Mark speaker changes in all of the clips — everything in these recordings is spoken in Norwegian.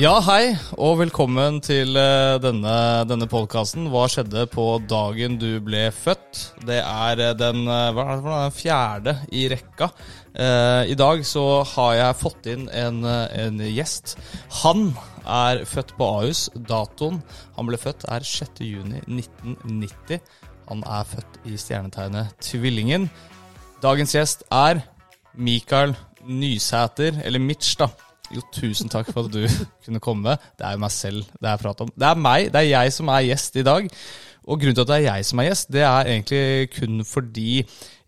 Speaker 1: Ja, hei, og velkommen til eh, denne, denne podkasten. Hva skjedde på dagen du ble født? Det er eh, den, eh, hva er det for noe? den fjerde i rekka. Eh, I dag så har jeg fått inn en, eh, en gjest. Han er født på Ahus. Datoen han ble født er 6.6.1990. Han er født i stjernetegnet Tvillingen. Dagens gjest er Mikael Nysæter, eller Mitch, da. Jo, tusen takk for at du kunne komme. Det er jo meg selv det er prat om. Det er meg, det er jeg som er gjest i dag. Og grunnen til at det er jeg som er gjest, det er egentlig kun fordi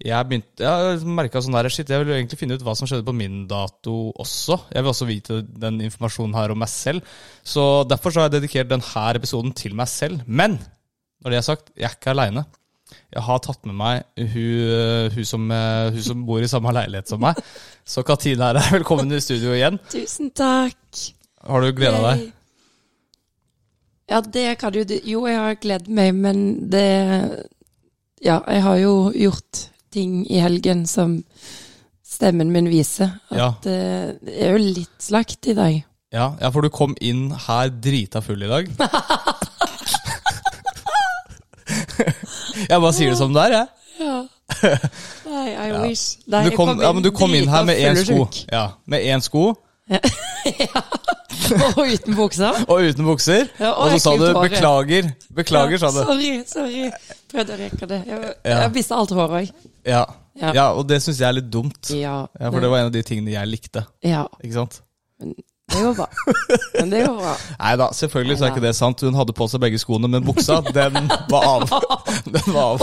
Speaker 1: jeg begynte, jeg merka sånn der shit, jeg vil jo egentlig finne ut hva som skjedde på min dato også. Jeg vil også vite den informasjonen her om meg selv. Så derfor så har jeg dedikert denne episoden til meg selv. Men når det er sagt, jeg er ikke aleine. Jeg har tatt med meg hun, eh, hun, som, hun som bor i samme leilighet som meg. Så Katina er her. Velkommen i studio igjen.
Speaker 2: Tusen takk.
Speaker 1: Har du gleda deg?
Speaker 2: Ja, det kan jo du Jo, jeg har gledet meg, men det Ja, jeg har jo gjort ting i helgen som stemmen min viser. At eh, det er jo litt slakt i dag.
Speaker 1: Ja, ja, for du kom inn her drita full i dag. Jeg bare sier det som det er, jeg.
Speaker 2: Ja. Nei, I wish.
Speaker 1: Du kom, ja, men du kom inn her med én sko. Ja, med én sko
Speaker 2: Og uten buksa.
Speaker 1: og uten bukser.
Speaker 2: Ja, og
Speaker 1: Og så
Speaker 2: jeg
Speaker 1: sa du
Speaker 2: klippte håret.
Speaker 1: 'beklager'. Beklager, sa du.
Speaker 2: Sorry, sorry. Prøvde å reke det. Jeg, jeg mista alt håret òg.
Speaker 1: Ja,
Speaker 2: Ja.
Speaker 1: ja og det syns jeg er litt dumt.
Speaker 2: Ja.
Speaker 1: Ja, For det var en av de tingene jeg likte.
Speaker 2: ja.
Speaker 1: Ikke sant?
Speaker 2: Det går bra. Men det går bra.
Speaker 1: Nei da, selvfølgelig så er ikke det sant. Hun hadde på seg begge skoene, men buksa, den var av. Den var av,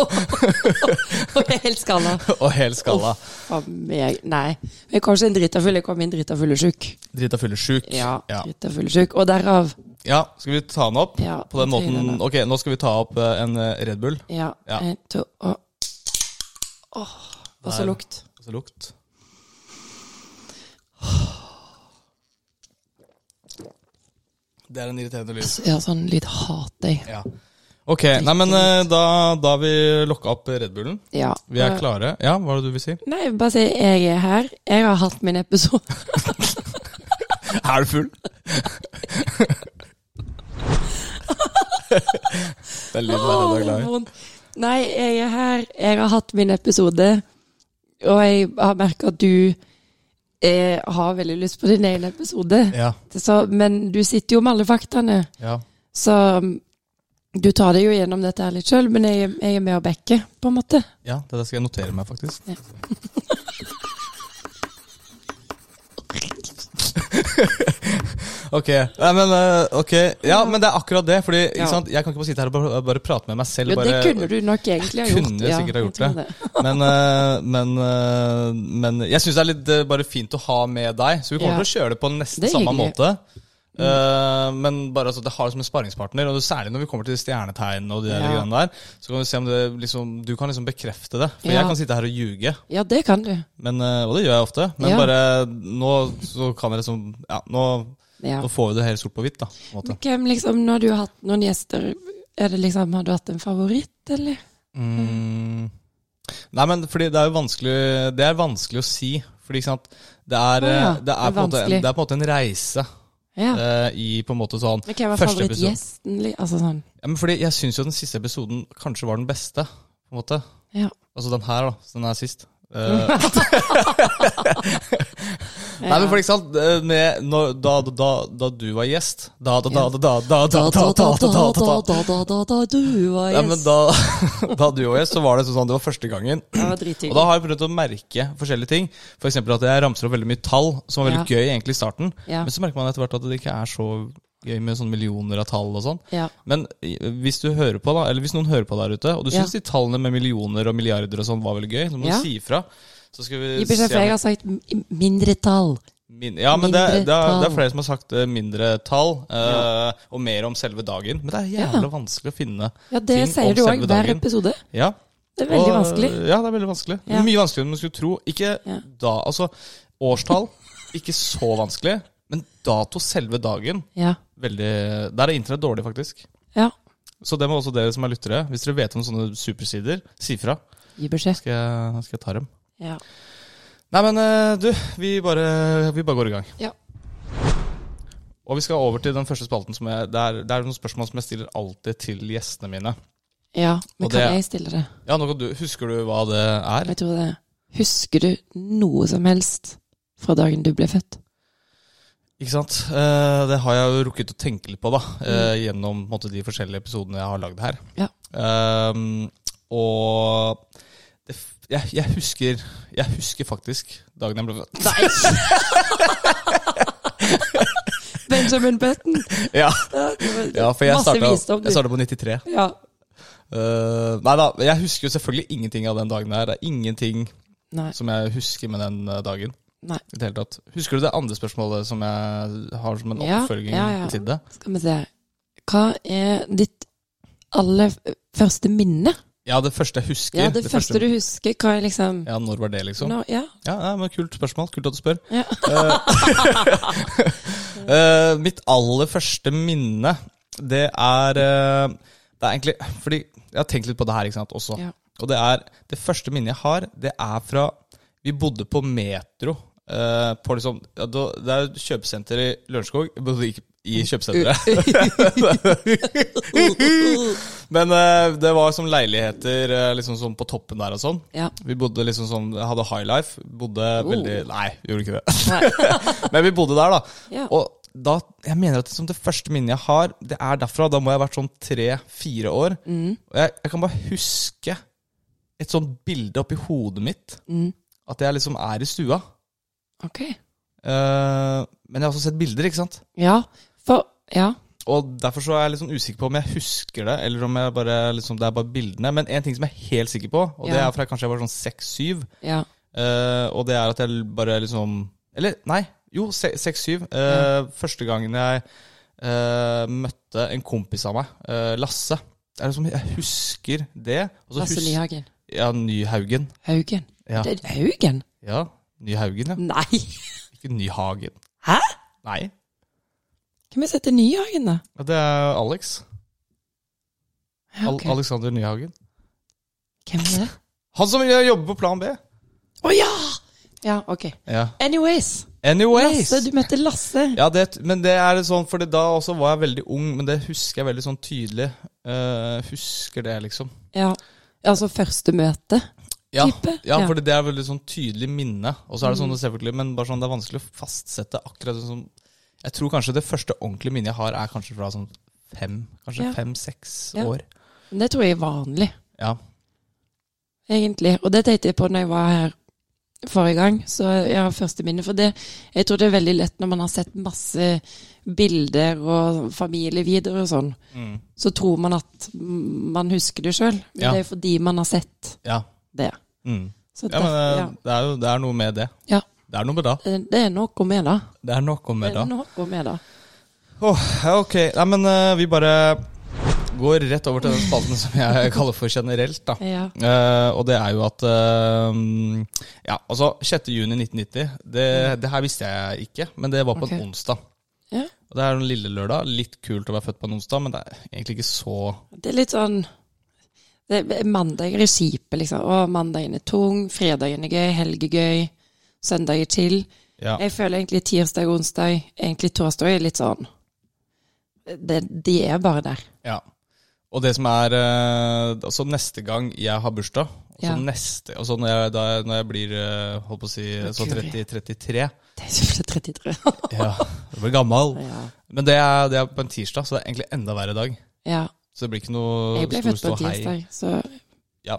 Speaker 2: Og jeg er helt skalla.
Speaker 1: og hel skalla.
Speaker 2: Faen meg. Nei. Jeg kom ikke inn drita full, jeg kom inn drita full og sjuk.
Speaker 1: Drita fyllesjuk.
Speaker 2: Ja,
Speaker 1: Ja.
Speaker 2: drita full og sjuk. Og derav
Speaker 1: ja, skal vi ta den opp
Speaker 2: Ja,
Speaker 1: på den
Speaker 2: vi tar
Speaker 1: måten?
Speaker 2: den
Speaker 1: Ok, nå skal vi ta opp eh, en eh, Red Bull.
Speaker 2: Ja.
Speaker 1: Ja.
Speaker 2: En, Eh, to, og Åh, Og så
Speaker 1: Der.
Speaker 2: lukt.
Speaker 1: Altså lukt. Det er en irriterende lyd.
Speaker 2: Ja, sånn litt hat jeg.
Speaker 1: Ja. Ok, nei, men eh, da da har vi lokka opp Red Bullen.
Speaker 2: Ja.
Speaker 1: Vi er klare. Ja, hva er det du vil si?
Speaker 2: Eh, Nei, jeg vil bare si jeg er her. Jeg har hatt min episode.
Speaker 1: Er du full? det er lyden av
Speaker 2: Åh, vondt. Nei, jeg er her. Jeg har hatt min episode. Og jeg har merka at du eh, har veldig lyst på din egen episode.
Speaker 1: Ja,
Speaker 2: Så, men du sitter jo med alle faktaene.
Speaker 1: ja.
Speaker 2: Så um, du tar deg jo gjennom dette her litt sjøl, men jeg, jeg er med og backer, på en måte.
Speaker 1: ja, det der skal jeg notere meg, faktisk. Ok, nei, men, eh, ok, ja, men det er akkurat det. Fordi,
Speaker 2: Ja.
Speaker 1: ikke sant? Jeg kan ikke bare sitte her og bare, bare prate med meg selv.
Speaker 2: Jo, det
Speaker 1: bare,
Speaker 2: kunne du nok egentlig ha gjort.
Speaker 1: Kunne jeg sikkert ha gjort
Speaker 2: jeg
Speaker 1: det.
Speaker 2: tror
Speaker 1: Men, eh, men, eh, men jeg syns det er litt eh, bare fint å ha med deg, så vi kommer
Speaker 2: Ja.
Speaker 1: til å kjøre det på nesten
Speaker 2: Det er
Speaker 1: samme
Speaker 2: hyggelig. Mm.
Speaker 1: måte. Eh, men bare altså, det har det som en sparringspartner, og det, særlig når vi kommer til stjernetegn og de der
Speaker 2: Ja.
Speaker 1: greiene der, så kan du se om det liksom Du kan liksom bekrefte det. For
Speaker 2: Ja.
Speaker 1: jeg kan sitte her og ljuge,
Speaker 2: Ja, det kan du.
Speaker 1: men, eh, og det gjør jeg ofte. Men
Speaker 2: Ja.
Speaker 1: bare nå så kan jeg liksom Ja, nå,
Speaker 2: Ja.
Speaker 1: nå får vi det helt sort på hvitt, da. På en måte.
Speaker 2: Hvem liksom, Når du har hatt noen gjester, er det liksom, har du hatt en favoritt, eller?
Speaker 1: Mm. Nei, men fordi det er jo vanskelig Det er vanskelig å si. Fordi ikke sant? Det, er,
Speaker 2: Å ja,
Speaker 1: eh, det, er
Speaker 2: det er
Speaker 1: på en måte, en-
Speaker 2: vanskelig.
Speaker 1: det er på en måte en reise
Speaker 2: Ja.
Speaker 1: eh, i på en måte sånn
Speaker 2: Men hvem var
Speaker 1: første episode.
Speaker 2: favorittgjesten? li- Altså sånn.
Speaker 1: Ja, men fordi jeg syns jo den siste episoden kanskje var den beste. På en måte
Speaker 2: Ja.
Speaker 1: Altså den her, da. Så den er sist. Eh, Nei, men for eksempel, eh, med, når, da, da, da, da du var gjest Da, da, da, da, da, da, da, da, da, da, da, da, da.
Speaker 2: du var
Speaker 1: Nei, men
Speaker 2: gjest.
Speaker 1: da, da du var gjest, så var det sånn Det var første gangen.
Speaker 2: Det var
Speaker 1: Og da
Speaker 2: drithyggelig.
Speaker 1: har jeg prøvd å merke forskjellige ting. For eksempel at jeg ramser opp veldig mye tall, som var veldig
Speaker 2: Ja.
Speaker 1: gøy egentlig i starten.
Speaker 2: Ja.
Speaker 1: Men så merker man etter hvert at det ikke er så gøy med sånne millioner av tall og sånn.
Speaker 2: Ja.
Speaker 1: Men i- hvis du hører på da, eller hvis noen hører på der ute, og du
Speaker 2: Ja.
Speaker 1: syns de tallene med millioner og milliarder og sånn var veldig gøy, så må
Speaker 2: Ja.
Speaker 1: du si ifra. Så skal vi
Speaker 2: Gi beskjed,
Speaker 1: se
Speaker 2: for
Speaker 1: om-
Speaker 2: jeg har sagt m- mindretall.
Speaker 1: Min, ja, men det,
Speaker 2: Mindre
Speaker 1: det, er, det er
Speaker 2: tall.
Speaker 1: flere som har sagt eh, mindre tall, eh, og mer om selve dagen. Men det er jævla
Speaker 2: Ja.
Speaker 1: vanskelig å finne
Speaker 2: Ja, det
Speaker 1: ting
Speaker 2: sier
Speaker 1: om
Speaker 2: du òg
Speaker 1: selve
Speaker 2: hver
Speaker 1: dagen.
Speaker 2: episode.
Speaker 1: Ja.
Speaker 2: Det er veldig
Speaker 1: og,
Speaker 2: vanskelig.
Speaker 1: Ja, det er veldig vanskelig.
Speaker 2: Ja.
Speaker 1: Mye vanskeligere enn man skulle tro. Ikke
Speaker 2: Ja.
Speaker 1: da, altså Årstall, ikke så vanskelig. Men dato selve dagen,
Speaker 2: Ja.
Speaker 1: veldig Der er internett dårlig, faktisk.
Speaker 2: ja.
Speaker 1: Så det må også dere som er lyttere, hvis dere vet om sånne supersider, si fra.
Speaker 2: Gi beskjed.
Speaker 1: Skal jeg, skal jeg ta dem.
Speaker 2: Ja.
Speaker 1: Nei, men eh, du, vi bare, vi bare går i gang.
Speaker 2: Ja.
Speaker 1: Og vi skal over til den første spalten. Som jeg, det, er, det er noen spørsmål som jeg stiller alltid til gjestene mine.
Speaker 2: ja. Men
Speaker 1: Og
Speaker 2: kan
Speaker 1: det-
Speaker 2: jeg stille det?
Speaker 1: Ja, nå kan du, Husker du hva det er?
Speaker 2: Jeg tror det. Husker du noe som helst fra dagen du ble født?
Speaker 1: Ikke sant? Eh, det har jeg jo rukket å tenke litt på da, eh, gjennom på en måte, de forskjellige episodene jeg har lagd her.
Speaker 2: Ja.
Speaker 1: Ehm, og det, f- jeg, jeg, husker, jeg husker faktisk dagen jeg ble født.
Speaker 2: Nei! Benjamin Button.
Speaker 1: Ja, ja for jeg
Speaker 2: Masse
Speaker 1: starta,
Speaker 2: visdom, du.
Speaker 1: jeg starta på 93.
Speaker 2: Ja.
Speaker 1: Eh, nei da, jeg husker jo selvfølgelig ingenting av den dagen her. Det er ingenting
Speaker 2: Nei.
Speaker 1: som jeg husker med den eh, dagen.
Speaker 2: Nei.
Speaker 1: I det hele tatt. Husker du det andre spørsmålet som jeg har som en
Speaker 2: Ja,
Speaker 1: oppfølging
Speaker 2: ja, ja.
Speaker 1: til det?
Speaker 2: Skal vi se. Hva er ditt aller f- første minne?
Speaker 1: Ja, det første jeg husker.
Speaker 2: Ja, det, første du husker. Hva er liksom
Speaker 1: Ja, når var det, liksom?
Speaker 2: Nå- ja.
Speaker 1: Ja, ja, men Kult spørsmål. Kult at du spør.
Speaker 2: Ja.
Speaker 1: Eh, eh, mitt aller første minne, det er eh, Det er egentlig Fordi jeg har tenkt litt på det her ikke sant, også.
Speaker 2: Ja.
Speaker 1: Og det er Det første minnet jeg har, det er fra Vi bodde på Metro. eh, på liksom, ja, da- det er et kjøpesenter i Lørenskog. Jeg bodde ikke i kjøpesenteret. Men eh, det var som leiligheter eh, liksom sånn på toppen der og sånn.
Speaker 2: ja.
Speaker 1: Vi bodde liksom sånn, hadde high life. Bodde
Speaker 2: Oh.
Speaker 1: veldig Nei, gjorde ikke det. Men vi bodde der, da.
Speaker 2: Ja.
Speaker 1: Og da, jeg mener at liksom det første minnet jeg har, det er derfra. Da må jeg ha vært sånn tre-fire år.
Speaker 2: Mm.
Speaker 1: Og jeg, jeg kan bare huske et sånt bilde oppi hodet mitt.
Speaker 2: Mm.
Speaker 1: At jeg liksom er i stua.
Speaker 2: Ok.
Speaker 1: Eh, men jeg har også sett bilder, ikke sant?
Speaker 2: Ja. For Ja.
Speaker 1: Og derfor så er jeg litt sånn usikker på om jeg husker det, eller om jeg bare, liksom, det er bare bildene. Men en ting som jeg er helt sikker på, og det
Speaker 2: Ja.
Speaker 1: er fra kanskje jeg var sånn seks-syv,
Speaker 2: Ja.
Speaker 1: Eh, og det er at jeg bare liksom Eller nei, jo, se- 6-7. Eh, Første gangen jeg eh, møtte en kompis av meg, eh, Lasse. Det er liksom, jeg husker det. og så
Speaker 2: Lasse
Speaker 1: hus-
Speaker 2: Nyhagen.
Speaker 1: Ja, Nyhaugen.
Speaker 2: Haugen.
Speaker 1: Ja.
Speaker 2: Det er Haugen?
Speaker 1: ja, Nyhaugen, ja.
Speaker 2: Nei!
Speaker 1: Ikke Nyhagen.
Speaker 2: Hæ?
Speaker 1: Nei.
Speaker 2: Hvem er det som heter Nyhagen, da?
Speaker 1: Ja, Det er Alex.
Speaker 2: Ja,
Speaker 1: Al
Speaker 2: ok.
Speaker 1: Alexander Nyhagen.
Speaker 2: Hvem er det?
Speaker 1: Han som jobber på Plan B.
Speaker 2: Å ja! Ja, ok.
Speaker 1: Ja.
Speaker 2: Anyways.
Speaker 1: Anyways.
Speaker 2: Lasse, du møtte Lasse.
Speaker 1: Ja, det, men det er sånn, for da også var jeg veldig ung, men det husker jeg veldig sånn tydelig. Eh, husker det, liksom.
Speaker 2: Ja. Altså første møte.
Speaker 1: ja,
Speaker 2: type.
Speaker 1: Ja,
Speaker 2: Ja. Mm.
Speaker 1: for det er veldig sånn tydelig minne. Og så er det sånn selvfølgelig, men bare sånn, det er vanskelig å fastsette akkurat sånn som Jeg tror kanskje det første ordentlige minnet jeg har, er kanskje fra sånn fem, kanskje
Speaker 2: Ja.
Speaker 1: fem-seks
Speaker 2: Ja.
Speaker 1: år.
Speaker 2: Men Det tror jeg er vanlig,
Speaker 1: Ja.
Speaker 2: egentlig. Og det tenkte jeg på når jeg var her forrige gang, så jeg har første minne. For det, jeg tror det er veldig lett når man har sett masse bilder og familievideoer og sånn,
Speaker 1: Mm.
Speaker 2: så tror man at man husker det sjøl. Men
Speaker 1: Ja.
Speaker 2: det er jo fordi man har sett
Speaker 1: Ja.
Speaker 2: det.
Speaker 1: Mm.
Speaker 2: Så
Speaker 1: ja, men eh,
Speaker 2: derfor-
Speaker 1: det er jo det er noe med det.
Speaker 2: ja. ja.
Speaker 1: Det er noe med det.
Speaker 2: Det er noe med det.
Speaker 1: Det er noe
Speaker 2: Det
Speaker 1: med det.
Speaker 2: er noe med det.
Speaker 1: Åh, ja, ok, Nei, men eh, vi bare går rett over til den spalten som jeg kaller for generelt, da.
Speaker 2: Ja.
Speaker 1: Eh, og det er jo at eh, Ja, altså 6.6.1990 det, det her visste jeg ikke, men det var på
Speaker 2: Mm. Ok.
Speaker 1: en onsdag.
Speaker 2: ja.
Speaker 1: Og det er en lille lørdag. Litt kult å være født på en onsdag, men det er egentlig ikke så
Speaker 2: Det er litt sånn det er Mandager i skipet, liksom. Å, mandagen er tung, fredagen er gøy, helg er gøy, søndag er chill.
Speaker 1: ja.
Speaker 2: Jeg føler egentlig tirsdag og onsdag, egentlig torsdag er litt sånn det, De er bare der.
Speaker 1: ja. Og det som er eh, Altså, neste gang jeg har bursdag, og så
Speaker 2: Ja.
Speaker 1: neste Og så når jeg, da, jeg- når jeg blir eh, holdt på å si så
Speaker 2: Guri.
Speaker 1: 30-33
Speaker 2: Det er ikke 33.
Speaker 1: Ja, jeg blir gammel.
Speaker 2: ja.
Speaker 1: Men det er, det er på en tirsdag, så det er egentlig enda verre dag.
Speaker 2: ja.
Speaker 1: Så det blir ikke noe
Speaker 2: Jeg ble født på en tirsdag, så
Speaker 1: Ja.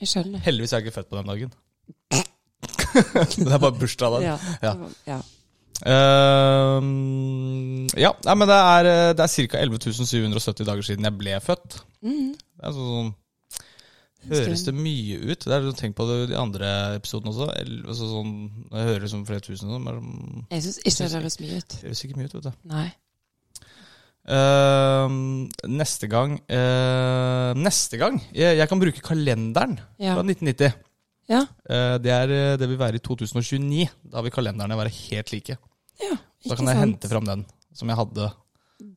Speaker 2: jeg skjønner.
Speaker 1: Heldigvis er jeg ikke født på den dagen. det er bare bursdag da.
Speaker 2: Ja.
Speaker 1: Ja.
Speaker 2: ja.
Speaker 1: Ehm, ja, nei, men det er, eh, det er ca. 11.770 dager siden jeg ble født.
Speaker 2: Mm.
Speaker 1: Det er sånn, sånn Høres det mye ut? Det er sånn, Tenk på det, i de andre episodene også. El, altså, sånn, når jeg hører liksom flere tusen og sånn, men mm,
Speaker 2: Jeg syns ikke det høres mye ut.
Speaker 1: det høres ikke mye ut, vet du.
Speaker 2: Nei.
Speaker 1: Ehm, neste gang eh, Neste gang! Jeg, jeg kan bruke kalenderen
Speaker 2: Ja.
Speaker 1: fra 1990.
Speaker 2: Ja.
Speaker 1: Eh, det, er, eh, det vil være i 2029. Da vil kalenderne være helt like.
Speaker 2: ja
Speaker 1: Da
Speaker 2: ikke
Speaker 1: kan jeg
Speaker 2: sant?
Speaker 1: hente fram den som jeg hadde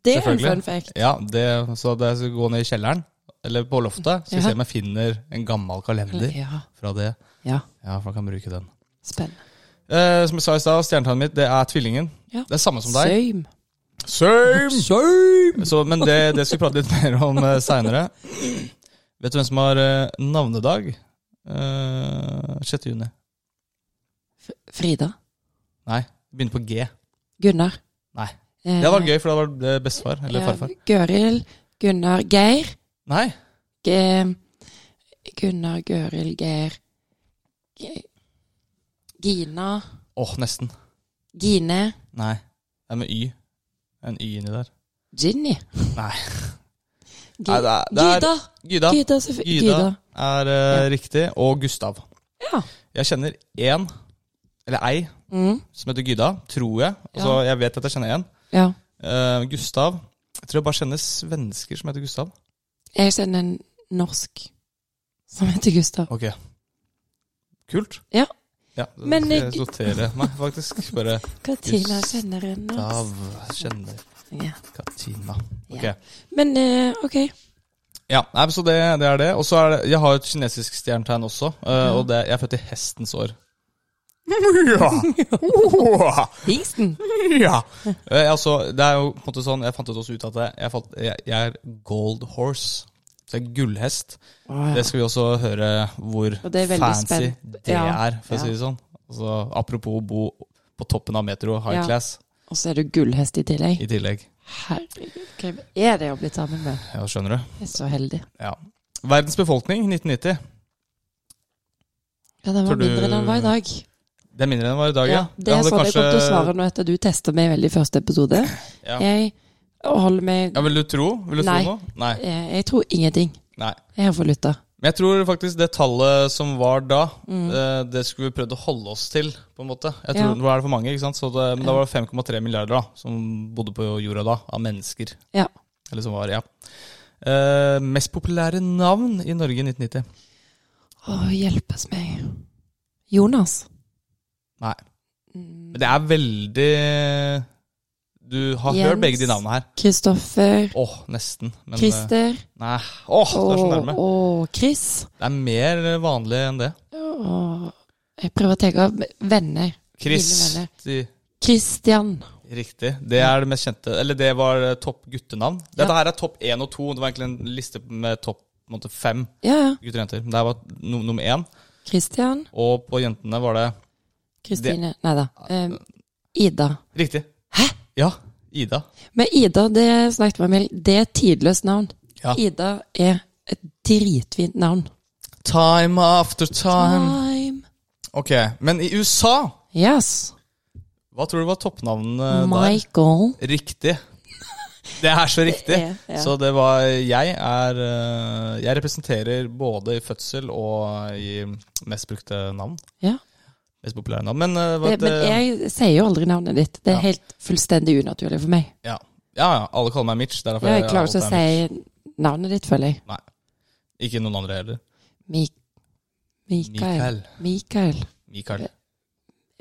Speaker 2: Det er en
Speaker 1: Selvfølgelig.
Speaker 2: fun fact.
Speaker 1: Ja, det, så da jeg skal gå ned i kjelleren, eller på loftet, skal jeg
Speaker 2: Ja.
Speaker 1: se om jeg finner en gammel kalender
Speaker 2: Ja.
Speaker 1: fra det.
Speaker 2: ja.
Speaker 1: Ja, for da kan jeg bruke den.
Speaker 2: Spennende.
Speaker 1: Eh, som jeg sa i stad, stjernetegnet mitt, det er tvillingen.
Speaker 2: Ja.
Speaker 1: Det er samme som deg.
Speaker 2: Søym.
Speaker 1: Same!
Speaker 2: Søym!
Speaker 1: Så, men det, det skal vi prate litt mer om uh, seinere. Vet du hvem som har eh, navnedag? Eh, 6. juni.
Speaker 2: Frida.
Speaker 1: Nei, begynner på G.
Speaker 2: Gunnar.
Speaker 1: Nei.
Speaker 2: Eh,
Speaker 1: Det hadde vært gøy, for da var det bestefar eller
Speaker 2: ja,
Speaker 1: farfar.
Speaker 2: Gøril. Gunnar. Geir.
Speaker 1: Nei,
Speaker 2: Ge- Gunnar, Gøril, Geir Ge- Gina.
Speaker 1: åh, nesten.
Speaker 2: Gine.
Speaker 1: Nei. Det er med Y. En Y inni der.
Speaker 2: Ginny.
Speaker 1: Nei.
Speaker 2: Gi-
Speaker 1: Nei, det er- det er-
Speaker 2: Gyda.
Speaker 1: Gyda.
Speaker 2: Gyda, selvfø-
Speaker 1: Gyda
Speaker 2: Gyda.
Speaker 1: er eh, riktig, og Gustav.
Speaker 2: Ja.
Speaker 1: Jeg kjenner én, eller ei,
Speaker 2: Mm.
Speaker 1: som heter Gyda, tror jeg. Altså, Jeg vet at jeg kjenner én.
Speaker 2: ja.
Speaker 1: Eh, Gustav Jeg tror jeg bare kjenner svensker som heter Gustav.
Speaker 2: Jeg kjenner en norsk som heter Gustav.
Speaker 1: Ok. Kult.
Speaker 2: Ja.
Speaker 1: Ja,
Speaker 2: Men
Speaker 1: Men jeg
Speaker 2: jeg-
Speaker 1: notere meg, faktisk. Bare
Speaker 2: Katina kjenner en
Speaker 1: Gustav
Speaker 2: norsk.
Speaker 1: kjenner
Speaker 2: Ja.
Speaker 1: Katina. Ok.
Speaker 2: Ja. Men eh, ok.
Speaker 1: Ja, nei, men så det, det er det. Og så er det Jeg har et kinesisk stjernetegn også, eh, og det, jeg er født i hestens år. Ja.
Speaker 2: Hingsten.
Speaker 1: Ja. Eh, altså, det er jo på en måte sånn Jeg fant ut også ut at jeg, jeg, fant, jeg, jeg er gold horse. Så jeg er gullhest.
Speaker 2: Å,
Speaker 1: Det
Speaker 2: ja.
Speaker 1: skal vi også høre hvor
Speaker 2: Og det er veldig
Speaker 1: fancy
Speaker 2: spenn-
Speaker 1: det
Speaker 2: Ja,
Speaker 1: er, for å
Speaker 2: ja.
Speaker 1: si det sånn. Altså, apropos bo på toppen av metro, high
Speaker 2: Ja.
Speaker 1: class,
Speaker 2: Og så er du gullhest i tillegg.
Speaker 1: i tillegg.
Speaker 2: Herregud, hvem er det å bli sammen med?
Speaker 1: Ja, skjønner du?
Speaker 2: Jeg er så heldig.
Speaker 1: Ja. Verdens befolkning 1990.
Speaker 2: Ja, den var
Speaker 1: Tror du-
Speaker 2: mindre enn den var i dag.
Speaker 1: Det er mindre enn det var i dag, ja.
Speaker 2: det er
Speaker 1: hadde
Speaker 2: sånn jeg kom til å
Speaker 1: kanskje-
Speaker 2: svare nå etter du tester meg veldig i første episode.
Speaker 1: Ja.
Speaker 2: Jeg holder meg
Speaker 1: Ja, Vil du tro? Vil du
Speaker 2: Nei.
Speaker 1: tro noe? Nei.
Speaker 2: eh, Jeg tror ingenting.
Speaker 1: Nei.
Speaker 2: Jeg har forlytta.
Speaker 1: Men jeg tror faktisk det tallet som var da, eh, det skulle vi prøvd å holde oss til. på en måte. Jeg tror
Speaker 2: Mm. Ja.
Speaker 1: Nå er det for mange, ikke sant? Så det, men da var det 5,3 milliarder da, som bodde på jorda da, av mennesker.
Speaker 2: Ja.
Speaker 1: Eller som var, ja. Eh, mest populære navn i Norge i 1990?
Speaker 2: Å, hjelpes meg. Jonas. Mm.
Speaker 1: Nei. Men det er veldig Du har
Speaker 2: Jens.
Speaker 1: hørt begge de navnene her.
Speaker 2: Kristoffer.
Speaker 1: Åh, nesten. Men, eh,
Speaker 2: Christer.
Speaker 1: Nei. Åh, du er så
Speaker 2: Og,
Speaker 1: nærme.
Speaker 2: og Chris.
Speaker 1: Det er mer vanlig enn det.
Speaker 2: Og jeg prøver å tenke av venner. venner.
Speaker 1: Kristi
Speaker 2: Christian.
Speaker 1: Riktig. Det er det mest kjente Eller det var eh, topp guttenavn. Dette her er topp én og to. Det var egentlig en liste med topp på en måte, fem
Speaker 2: Ja, ja.
Speaker 1: gutter og jenter. Det her var no, nummer én.
Speaker 2: Christian.
Speaker 1: Og på jentene var det
Speaker 2: Kristine. Nei da. Eh, Ida.
Speaker 1: Riktig. Hæ? Ja. Ida.
Speaker 2: Men Ida, det jeg snakket med Emil, det er et tidløst navn.
Speaker 1: Ja.
Speaker 2: Ida er et dritfint navn.
Speaker 1: Time after time.
Speaker 2: Time.
Speaker 1: Ok, men i USA
Speaker 2: Yes.
Speaker 1: Hva tror du var toppnavnet Eh, der?
Speaker 2: Michael.
Speaker 1: Riktig. Det er så riktig.
Speaker 2: er- ja.
Speaker 1: Så det var Jeg er eh, Jeg representerer både i fødsel og i mest brukte navn.
Speaker 2: Ja.
Speaker 1: Mest populære navn. Men, eh, var
Speaker 2: Det,
Speaker 1: et,
Speaker 2: men
Speaker 1: eh,
Speaker 2: jeg sier jo aldri navnet ditt. Det er
Speaker 1: Ja.
Speaker 2: helt fullstendig unaturlig for meg.
Speaker 1: Ja. ja, ja. Alle kaller meg Mitch. det er derfor
Speaker 2: Jeg klarer
Speaker 1: alltid
Speaker 2: ikke å
Speaker 1: er Mitch.
Speaker 2: si navnet ditt, føler jeg.
Speaker 1: Ikke noen andre heller.
Speaker 2: Mi Mikael. Mikael.
Speaker 1: Mikael.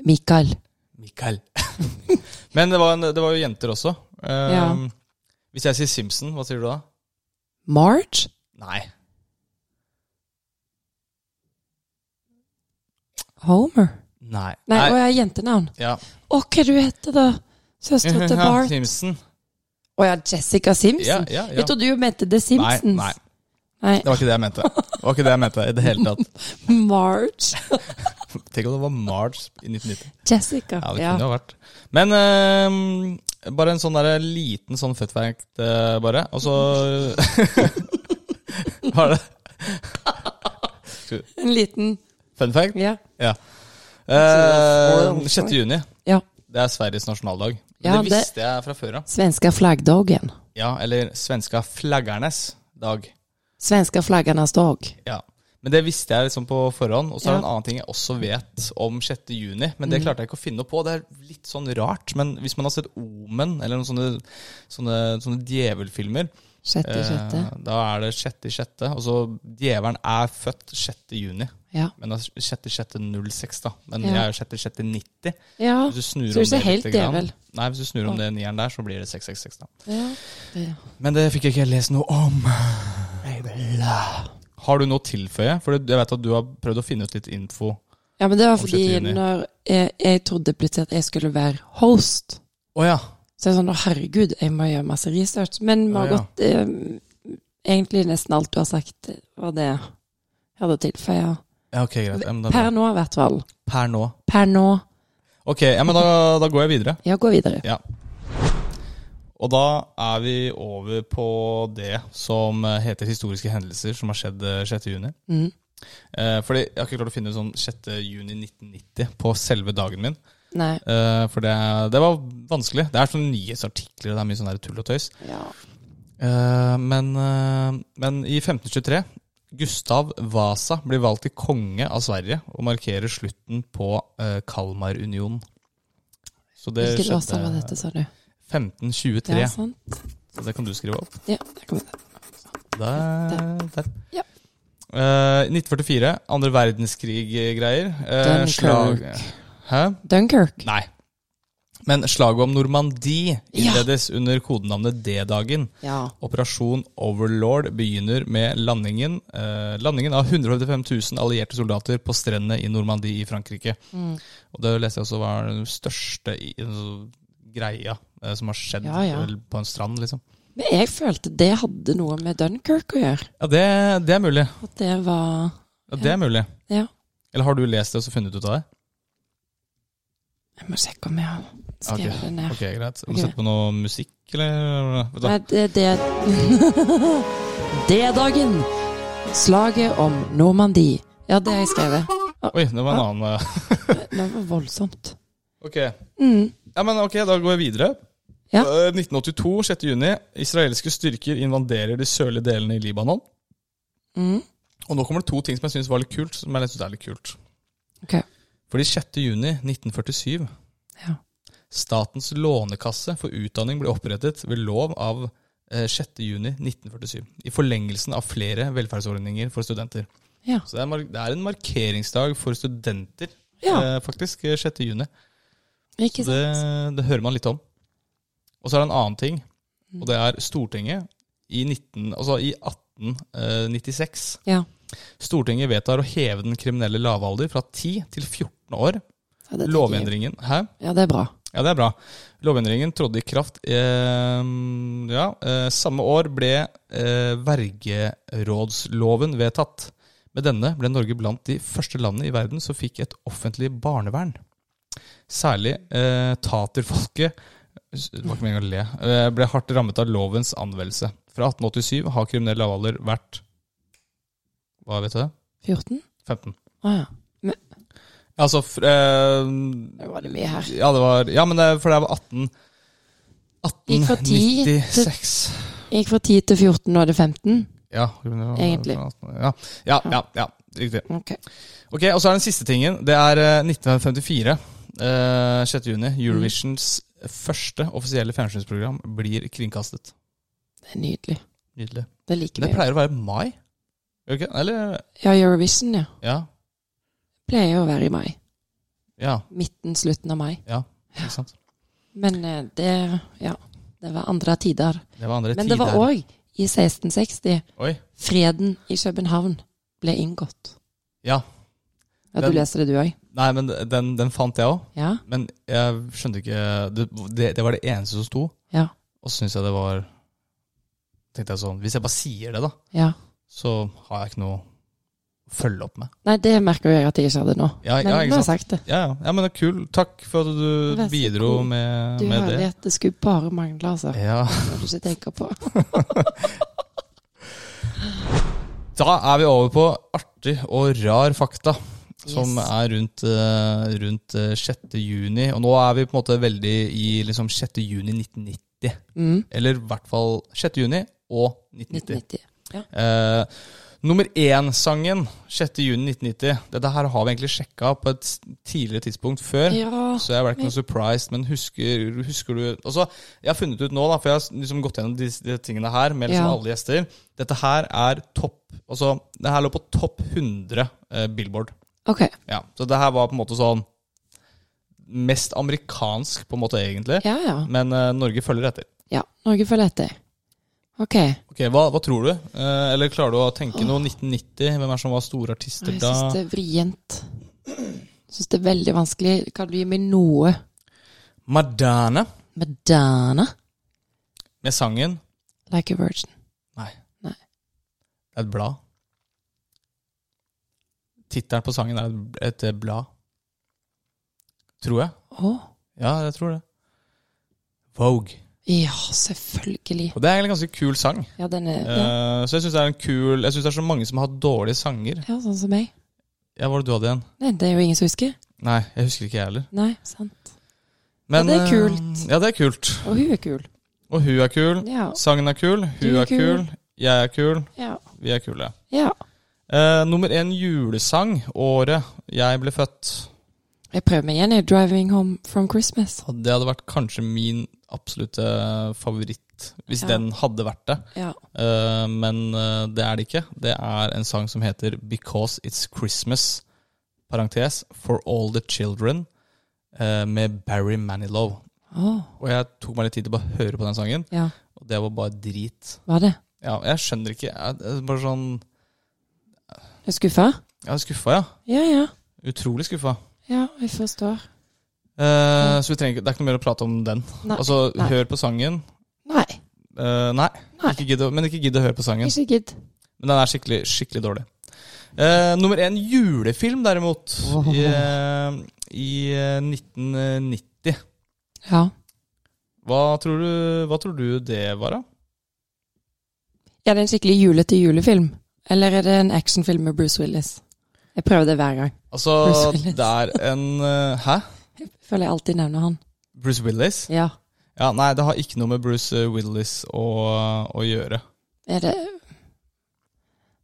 Speaker 2: Mikael.
Speaker 1: Mikael. Men det var, en, det var jo jenter også. Eh,
Speaker 2: Ja.
Speaker 1: Hvis jeg sier Simpson, hva sier du da?
Speaker 2: Marge?
Speaker 1: Nei.
Speaker 2: Homer?
Speaker 1: Nei.
Speaker 2: Nei, og jeg har jentenavn.
Speaker 1: Ja.
Speaker 2: Å, hva du heter da? Søstera til Bart?
Speaker 1: Simpson.
Speaker 2: Å ja, Jessica
Speaker 1: Ja,
Speaker 2: Simpson?
Speaker 1: ja, ja.
Speaker 2: Jeg trodde du mente The Simpsons.
Speaker 1: Nei, nei.
Speaker 2: Nei.
Speaker 1: Det var ikke det jeg mente. Det var ikke det jeg mente i det hele tatt.
Speaker 2: Marge.
Speaker 1: Tenk om det var Marge i 1990.
Speaker 2: Jessica.
Speaker 1: Ja, det kunne
Speaker 2: Ja,
Speaker 1: det ha vært. Men eh, bare en sånn der liten sånn føttverk, eh, bare. Og så Var det
Speaker 2: En liten
Speaker 1: fun fact?
Speaker 2: Ja.
Speaker 1: Ja. Eh, 6. juni.
Speaker 2: ja.
Speaker 1: Det er Sveriges nasjonaldag. Men
Speaker 2: Ja,
Speaker 1: det
Speaker 2: det-
Speaker 1: visste jeg fra før av.
Speaker 2: Svenska flaggdagen.
Speaker 1: Ja, eller svenska flaggernes dag.
Speaker 2: Svenska flaggarnas dag.
Speaker 1: Ja. Men det visste jeg liksom på forhånd. Og så er det
Speaker 2: Ja. Mm.
Speaker 1: en annen ting jeg også vet om 6. juni. Men det klarte jeg ikke å finne noe på. Det er litt sånn rart. Men hvis man har sett Omen, eller noen sånne, sånne, sånne djevelfilmer,
Speaker 2: Sjette, sjette.
Speaker 1: eh, da er det 6.6. Og så djevelen er født 6. juni.
Speaker 2: Ja.
Speaker 1: Men det er 6.6.06, da. Men
Speaker 2: Ja.
Speaker 1: jeg er jo 6.6.90.
Speaker 2: ja.
Speaker 1: Hvis du snur
Speaker 2: Så du
Speaker 1: om
Speaker 2: ser
Speaker 1: det
Speaker 2: helt
Speaker 1: lite grann-
Speaker 2: djevel.
Speaker 1: Nei, hvis du snur om det nieren der, så blir det 666, da.
Speaker 2: Ja. Det-
Speaker 1: Men det fikk jeg ikke lest noe om. Har du noe å tilføye? For jeg vet at du har prøvd å finne ut litt info.
Speaker 2: ja, men det var
Speaker 1: Om
Speaker 2: fordi
Speaker 1: 70 juni.
Speaker 2: når jeg, jeg trodde plutselig at jeg skulle være host,
Speaker 1: Å ja.
Speaker 2: så jeg sånn å herregud, jeg må gjøre masse research. Men Margot, eh, egentlig nesten alt du har sagt, eh, var det jeg hadde tilføya.
Speaker 1: ja. Ok, greit. Ja, men da,
Speaker 2: Per nå, i hvert fall.
Speaker 1: per nå.
Speaker 2: Per nå.
Speaker 1: Ok, ja, men da, da går jeg videre.
Speaker 2: Ja, gå videre.
Speaker 1: Ja. Og da er vi over på det som eh, heter historiske hendelser som har skjedd eh, 6. juni.
Speaker 2: Mm.
Speaker 1: Eh, fordi jeg har ikke klart å finne ut sånn 6. juni 1990 på selve dagen min.
Speaker 2: Nei.
Speaker 1: Eh, for det, det var vanskelig. Det er sånne nyhetsartikler og det er mye sånn der tull og tøys.
Speaker 2: Ja.
Speaker 1: Eh, men, eh, men i 1523 Gustav Vasa blir valgt til konge av Sverige og markerer slutten på eh, Kalmarunionen. Så det
Speaker 2: Hvilket årstall var
Speaker 1: skjedde
Speaker 2: dette, sa du?
Speaker 1: 1523.
Speaker 2: Ja, sant?
Speaker 1: Så det kan du skrive opp.
Speaker 2: Ja, der kom det.
Speaker 1: Der. der.
Speaker 2: Ja.
Speaker 1: Eh, 1944. Andre verdenskrig-greier. Eh,
Speaker 2: Dunkirk.
Speaker 1: slag Hæ?
Speaker 2: Dunkirk.
Speaker 1: Nei. Men slaget om Normandie
Speaker 2: Ja.
Speaker 1: innledes under kodenavnet D-dagen.
Speaker 2: Ja.
Speaker 1: Operasjon Overlord begynner med landingen, eh, landingen av 155 000 allierte soldater på strendene i Normandie i Frankrike. Og Det leste jeg også var den største i, altså, greia eh, som har skjedd
Speaker 2: Ja, ja.
Speaker 1: vel på en strand. liksom.
Speaker 2: Men jeg følte det hadde noe med Dunkirk å gjøre.
Speaker 1: Ja, Det, det er mulig.
Speaker 2: At det var
Speaker 1: Ja, det er mulig.
Speaker 2: Ja.
Speaker 1: Eller har du lest det og så funnet ut av det?
Speaker 2: Jeg må sjekke om jeg har skrevet det ned.
Speaker 1: Ok, greit. Må
Speaker 2: Ok.
Speaker 1: sette på noe musikk, eller? Vet du.
Speaker 2: Nei, det det D-dagen. Slaget om Normandie. Ja, det har jeg skrevet.
Speaker 1: Oi, det var en annen eh.
Speaker 2: Det var voldsomt. Mm.
Speaker 1: Ok. Ja, men ok, da går jeg videre.
Speaker 2: Ja.
Speaker 1: Eh, 1982, 6. juni. Israelske styrker invaderer de sørlige delene i Libanon.
Speaker 2: Mm.
Speaker 1: Og nå kommer det to ting som jeg syns var litt kult. Som jeg synes er litt kult.
Speaker 2: Ok.
Speaker 1: Fordi 6. juni 1947
Speaker 2: Ja.
Speaker 1: Statens lånekasse for utdanning ble opprettet ved lov av eh, 6. juni 1947. I forlengelsen av flere velferdsordninger for studenter.
Speaker 2: Ja.
Speaker 1: Så det er, mar- det er en markeringsdag for studenter,
Speaker 2: Ja.
Speaker 1: eh, faktisk. eh, 6. juni.
Speaker 2: Ikke
Speaker 1: Det,
Speaker 2: sant?
Speaker 1: det hører man litt om. Og så er det en annen ting,
Speaker 2: Mm.
Speaker 1: og det er Stortinget i, 19, altså i 1896.
Speaker 2: Ja.
Speaker 1: Stortinget vedtar å heve den kriminelle lavalder fra 10 til 14 år.
Speaker 2: Ja, det tenker jeg.
Speaker 1: Lovendringen Hæ?
Speaker 2: Ja, det er bra.
Speaker 1: Ja, det er bra. Lovendringen trådte i kraft eh, ja, eh, Samme år ble eh, vergerådsloven vedtatt. Med denne ble Norge blant de første landene i verden som fikk et offentlig barnevern. Særlig eh, taterfolket det var ikke meningen å le, eh, ble hardt rammet av lovens anvendelse. Fra 1887 har kriminell lavalder vært Hva vet du det?
Speaker 2: 14?
Speaker 1: 15.
Speaker 2: Å ja. Men,
Speaker 1: Altså fr- eh,
Speaker 2: det var det mye her.
Speaker 1: ja, det var, ja men det, for det var 18
Speaker 2: Gikk fra 10 til-
Speaker 1: 1896.
Speaker 2: Gikk fra 10 til 14, nå er det 15?
Speaker 1: Ja, men det var-
Speaker 2: Egentlig.
Speaker 1: Ja, ja, ja, ja, riktig.
Speaker 2: Ok.
Speaker 1: Ok, Og så er den siste tingen. Det er eh, 1954. eh, 6. juni. Eurovisions første offisielle fjernsynsprogram blir kringkastet.
Speaker 2: Det er nydelig.
Speaker 1: Nydelig.
Speaker 2: Det liker
Speaker 1: Det
Speaker 2: vi.
Speaker 1: pleier å være mai? Gjør det ikke? Eller
Speaker 2: Ja, Eurovision, ja.
Speaker 1: Ja.
Speaker 2: Pleier jo å være i mai.
Speaker 1: Ja,
Speaker 2: Midten, slutten av mai.
Speaker 1: ja ikke sant.
Speaker 2: Men eh, det Ja. Det var andre tider.
Speaker 1: Det var andre
Speaker 2: Men det var
Speaker 1: tider.
Speaker 2: òg i 1660.
Speaker 1: Oi.
Speaker 2: Freden i København ble inngått.
Speaker 1: Ja.
Speaker 2: Ja, du
Speaker 1: Den-
Speaker 2: leser det, du òg?
Speaker 1: Nei, men den, den fant jeg òg.
Speaker 2: Ja?
Speaker 1: Men jeg skjønte ikke Det, det, det var det eneste som sto.
Speaker 2: Ja.
Speaker 1: Og så syns jeg det var Tenkte jeg sånn Hvis jeg bare sier det, da,
Speaker 2: ja.
Speaker 1: så har jeg ikke noe å følge opp med.
Speaker 2: Nei, det merker jeg at jeg ikke hadde nå.
Speaker 1: Ja,
Speaker 2: Men
Speaker 1: ja, ikke
Speaker 2: nå har jeg
Speaker 1: sant?
Speaker 2: sagt det.
Speaker 1: Ja, ja. ja, men det er kul. Takk for at du
Speaker 2: Vær så
Speaker 1: bidro
Speaker 2: god.
Speaker 1: med,
Speaker 2: Du
Speaker 1: med det.
Speaker 2: herlighet, det skulle bare mangle, altså.
Speaker 1: Ja.
Speaker 2: Når du ikke tenker på.
Speaker 1: Da er vi over på artig og rar fakta. som er rundt, eh, rundt eh, 6. juni. Og nå er vi på en måte veldig i liksom 6. juni 1990.
Speaker 2: Mm.
Speaker 1: Eller i hvert fall 6. juni og 1990.
Speaker 2: 1990. Ja.
Speaker 1: Eh, nummer én-sangen 6. juni 1990. Dette her har vi egentlig sjekka på et s- tidligere tidspunkt før.
Speaker 2: ja.
Speaker 1: Så jeg ble ikke noe surprised, men husker, husker du Også, Jeg har funnet ut nå, da, for jeg har s- liksom gått gjennom disse, de tingene her med liksom
Speaker 2: Ja.
Speaker 1: alle gjester Dette her er topp altså, Det her lå på topp 100 eh, Billboard.
Speaker 2: Ok.
Speaker 1: Ja, så det her var på en måte sånn Mest amerikansk, på en måte, egentlig.
Speaker 2: Ja, ja.
Speaker 1: Men eh, Norge følger etter.
Speaker 2: Ja, Norge følger etter. Ok.
Speaker 1: Ok, Hva, hva tror du? Eh, eller klarer du å tenke noe 1990? Hvem er som var store artister
Speaker 2: Jeg
Speaker 1: da?
Speaker 2: syns det er vrient. Jeg syns det er veldig vanskelig. Kan du gi meg noe?
Speaker 1: Madonna
Speaker 2: Madonna?
Speaker 1: med sangen
Speaker 2: Like a virgin.
Speaker 1: Nei.
Speaker 2: Nei.
Speaker 1: Det er et blad. Tittelen på sangen er et, et blad. Tror jeg.
Speaker 2: Å.
Speaker 1: Ja, jeg tror det. Vogue.
Speaker 2: Ja, selvfølgelig.
Speaker 1: Og det er egentlig en ganske kul sang.
Speaker 2: Ja, den er ja.
Speaker 1: Eh, så jeg syns det er en kul Jeg synes det er så mange som har dårlige sanger.
Speaker 2: ja, sånn som meg.
Speaker 1: Ja, Hva var det du hadde igjen?
Speaker 2: Nei, det er jo ingen som husker.
Speaker 1: Nei, jeg husker ikke, jeg heller.
Speaker 2: Nei, sant.
Speaker 1: Men,
Speaker 2: Ja, det er
Speaker 1: eh,
Speaker 2: kult.
Speaker 1: ja, det er kult.
Speaker 2: Og hun er kul.
Speaker 1: Og hun er kul.
Speaker 2: Ja.
Speaker 1: Sangen er kul. Hun
Speaker 2: Du er
Speaker 1: er kul.
Speaker 2: kul.
Speaker 1: Jeg er kul.
Speaker 2: Ja.
Speaker 1: Vi er kule.
Speaker 2: ja.
Speaker 1: Eh, nummer én julesang året jeg ble født.
Speaker 2: Jeg prøver meg igjen. Jeg er driving home from Christmas.
Speaker 1: Og Det hadde vært kanskje min absolutte favoritt, hvis
Speaker 2: Ja.
Speaker 1: den hadde vært det.
Speaker 2: Ja.
Speaker 1: Eh, men eh, det er det ikke. Det er en sang som heter Because It's Christmas, parentes, For All The Children, eh, med Barry Manilow.
Speaker 2: Å.
Speaker 1: Og jeg tok meg litt tid til å bare høre på den sangen,
Speaker 2: Ja.
Speaker 1: og det var bare drit.
Speaker 2: Var det?
Speaker 1: Ja, jeg skjønner ikke Jeg jeg er bare sånn
Speaker 2: Er du skuffa?
Speaker 1: Jeg er skuffa, ja.
Speaker 2: Ja, ja.
Speaker 1: Utrolig skuffa.
Speaker 2: Ja, jeg forstår.
Speaker 1: Eh, Så vi trenger, ikke- det er ikke noe mer å prate om den.
Speaker 2: Nei.
Speaker 1: altså,
Speaker 2: nei.
Speaker 1: hør på sangen.
Speaker 2: Nei.
Speaker 1: Eh, nei,
Speaker 2: Nei.
Speaker 1: Ikke gidd å- men ikke gidd å høre på sangen.
Speaker 2: Ikke gidd.
Speaker 1: Men den er skikkelig, skikkelig dårlig. Eh, nummer én julefilm, derimot, i, eh, i eh, 1990.
Speaker 2: Ja.
Speaker 1: Hva tror, du, hva tror du det var, da?
Speaker 2: Er det en skikkelig julete julefilm? Eller er det en actionfilm med Bruce Willis? Jeg prøver det hver gang.
Speaker 1: Altså,
Speaker 2: Bruce Willis.
Speaker 1: det er en eh, Hæ?
Speaker 2: Jeg føler jeg alltid nevner han.
Speaker 1: Bruce Willis?
Speaker 2: Ja.
Speaker 1: Ja, Nei, det har ikke noe med Bruce eh, Willis å, å gjøre.
Speaker 2: Er det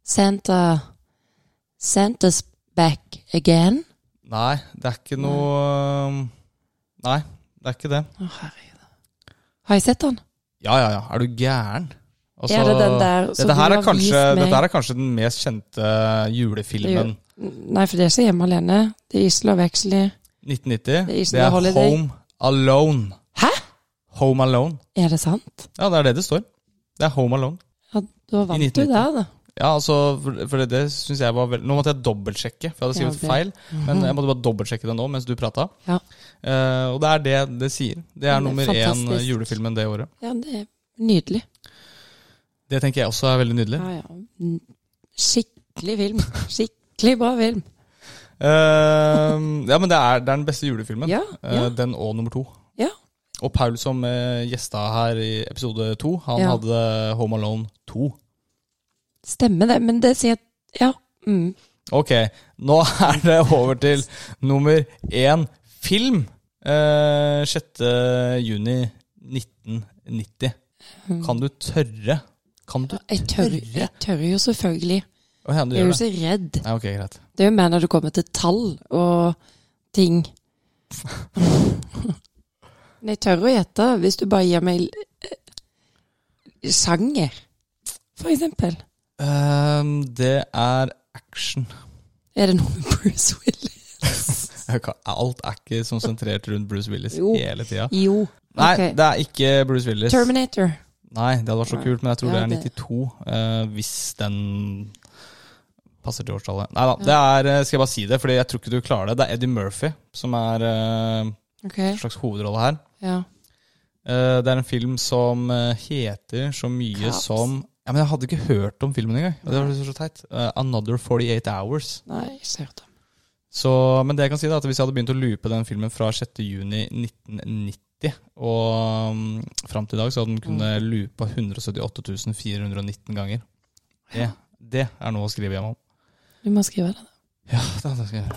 Speaker 2: Santa Santa's back again?
Speaker 1: Nei, det er ikke noe eh, Nei, det er ikke det.
Speaker 2: Å, herregud. Har jeg sett han?
Speaker 1: Ja, ja, ja. Er du gæren? Altså,
Speaker 2: er det den der som
Speaker 1: dette, her
Speaker 2: du
Speaker 1: er
Speaker 2: har
Speaker 1: kanskje,
Speaker 2: vist meg?
Speaker 1: dette her er kanskje den mest kjente julefilmen.
Speaker 2: Nei, for det er ikke hjemme alene. Det er Isla Vexley.
Speaker 1: 1990.
Speaker 2: Det er ikke
Speaker 1: Det er
Speaker 2: noe holiday.
Speaker 1: Home Alone.
Speaker 2: Hæ?
Speaker 1: Home Alone.
Speaker 2: Er det sant?
Speaker 1: Ja, det er det det står. Det er Home Alone.
Speaker 2: Ja, da
Speaker 1: I
Speaker 2: vant du
Speaker 1: 1990.
Speaker 2: der, da.
Speaker 1: Ja, altså, for for det, det synes jeg var veldig... Nå måtte jeg dobbeltsjekke, for jeg hadde
Speaker 2: Ja,
Speaker 1: skrevet
Speaker 2: det- Mhm.
Speaker 1: feil. Men eh, jeg måtte bare dobbeltsjekke det nå mens du prata.
Speaker 2: Ja.
Speaker 1: Eh, og det er det det sier. Det
Speaker 2: Ja,
Speaker 1: er
Speaker 2: det er
Speaker 1: nummer én eh,
Speaker 2: fantastisk.
Speaker 1: julefilmen det året.
Speaker 2: Ja, det er nydelig.
Speaker 1: Det tenker jeg også er veldig nydelig.
Speaker 2: Ja, ja. N- Skikkelig film. Skikkelig bra film.
Speaker 1: Eh, ja, men det er, det er den beste julefilmen.
Speaker 2: Ja, ja.
Speaker 1: Eh, den og nummer to.
Speaker 2: Ja.
Speaker 1: Og Paul som eh, gjesta her i episode to, han
Speaker 2: Ja.
Speaker 1: hadde Home Alone 2.
Speaker 2: Stemmer det, men det sier Ja. Mm.
Speaker 1: Ok, nå er det over til nummer én film. Eh, 6. juni 1990. Kan du tørre? Kan du
Speaker 2: mm. Jeg tør, jeg tør jo selvfølgelig.
Speaker 1: Å, ja, du
Speaker 2: Jeg er
Speaker 1: gjør
Speaker 2: jo
Speaker 1: det.
Speaker 2: så redd.
Speaker 1: Nei, ok, greit.
Speaker 2: Det er jo mer når det kommer til tall og ting. Men jeg tør å gjette hvis du bare gir meg eh, sjanger, for eksempel.
Speaker 1: Ehm, det er action.
Speaker 2: Er det noe med Bruce Willis?
Speaker 1: Jeg kan- Alt er ikke sentrert rundt Bruce Willis
Speaker 2: Jo.
Speaker 1: hele tida.
Speaker 2: Jo.
Speaker 1: Nei,
Speaker 2: Ok.
Speaker 1: det er ikke Bruce Willis.
Speaker 2: Terminator.
Speaker 1: Nei, det hadde vært så
Speaker 2: Nei.
Speaker 1: kult, men jeg tror
Speaker 2: Ja,
Speaker 1: det er
Speaker 2: det-
Speaker 1: 92. eh, hvis den passer til årstallet. Nei da, det er eh, Skal jeg bare si det, for jeg tror ikke du klarer det. Det er Eddie Murphy som er eh,
Speaker 2: Ok,
Speaker 1: en slags hovedrolle her.
Speaker 2: ja.
Speaker 1: Eh, det er en film som eh, heter så mye
Speaker 2: Cops.
Speaker 1: som ja, men Jeg hadde ikke hørt om filmen engang. og Det var så teit. Eh, 'Another 48 Hours'.
Speaker 2: Nei, ikke hørt om.
Speaker 1: Så, men det jeg kan si da, at hvis jeg hadde begynt å loope den filmen fra 6. juni 1990 og um, fram til i dag, så hadde den kunnet loopa 178 419 ganger. Det, det er noe å skrive hjem om.
Speaker 2: Du må skrive det. da.
Speaker 1: Ja, det det skal jeg gjøre.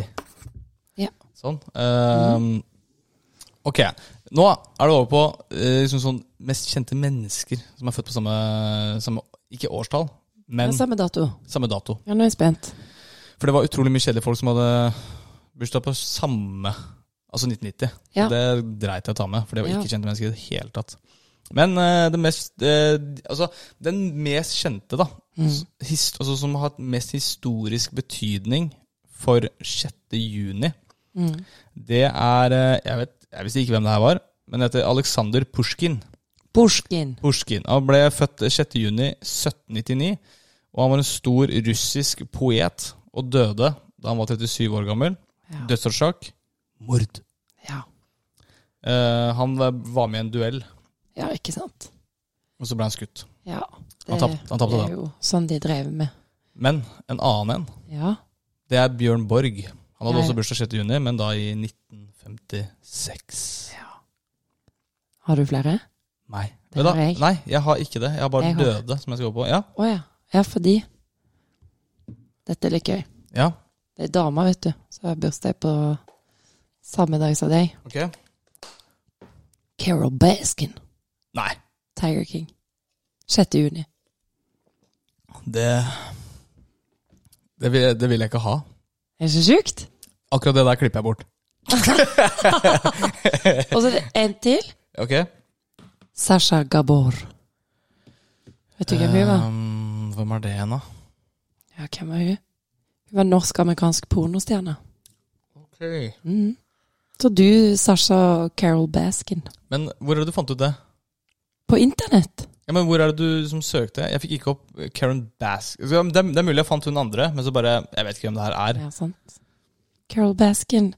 Speaker 1: Det.
Speaker 2: Ja.
Speaker 1: Sånn. Ehm, ok. Nå er det over på eh, liksom sånn mest kjente mennesker som er født på samme, samme Ikke årstall, men
Speaker 2: Men, samme dato.
Speaker 1: samme dato.
Speaker 2: Ja, nå er jeg spent.
Speaker 1: For det var utrolig mye kjedelige folk som hadde bursdag på samme Altså 1990.
Speaker 2: Ja.
Speaker 1: Det dreit jeg å ta med, for det var
Speaker 2: Ja.
Speaker 1: ikke kjente mennesker i det hele tatt. Men eh, det mest eh, Altså, den mest kjente, da,
Speaker 2: Mm.
Speaker 1: s- his- altså, som har hatt mest historisk betydning for 6. juni,
Speaker 2: Mm.
Speaker 1: det er eh, Jeg vet jeg visste ikke hvem det her var, men det heter Aleksandr Pusjkin.
Speaker 2: Pushkin.
Speaker 1: Pusjkin. Han ble født 6. juni 1799, og han var en stor russisk poet og døde da han var 37 år gammel.
Speaker 2: Ja.
Speaker 1: Dødsårsak? Mord.
Speaker 2: Ja.
Speaker 1: Eh, han var med i en duell,
Speaker 2: ja, ikke sant.
Speaker 1: og så ble han skutt.
Speaker 2: Ja.
Speaker 1: Han tapte- han tapte
Speaker 2: det
Speaker 1: den.
Speaker 2: er jo sånn de drev med.
Speaker 1: Men en annen en,
Speaker 2: Ja.
Speaker 1: det er Bjørn Borg. Han hadde
Speaker 2: Ja, ja.
Speaker 1: også bursdag 6. juni, men da i 1956.
Speaker 2: Har du flere?
Speaker 1: Nei.
Speaker 2: Det
Speaker 1: Vet du
Speaker 2: har jeg.
Speaker 1: hva? Nei, jeg har ikke det. Jeg har bare
Speaker 2: Jeg har.
Speaker 1: døde, som jeg skal gå på. Ja,
Speaker 2: Å ja. Ja, fordi Dette er litt gøy.
Speaker 1: ja,
Speaker 2: Det er dama, vet du, som har bursdag på samme dag som deg.
Speaker 1: ok.
Speaker 2: Carol Baskin.
Speaker 1: Nei,
Speaker 2: Tiger King. 6. juni.
Speaker 1: det det vil, det vil jeg ikke ha.
Speaker 2: Er det så sjukt?
Speaker 1: Akkurat det der klipper jeg bort.
Speaker 2: Og så er det en til.
Speaker 1: Ok.
Speaker 2: Sasha Gabor. Vet du hvem hun var?
Speaker 1: Ehm, hvem er det igjen, da?
Speaker 2: Ja, hvem var hun? Hun var norsk-amerikansk pornostjerne. Mhm. Så du, Sasha Carol Baskin.
Speaker 1: Men hvor er det du fant ut det?
Speaker 2: På internett?
Speaker 1: Ja, men Hvor er det du som søkte? Jeg fikk ikke opp Karen Bask. Det er, det er mulig jeg fant hun andre, men så bare Jeg vet ikke hvem det her er.
Speaker 2: Ja, sant. Carol Baskin.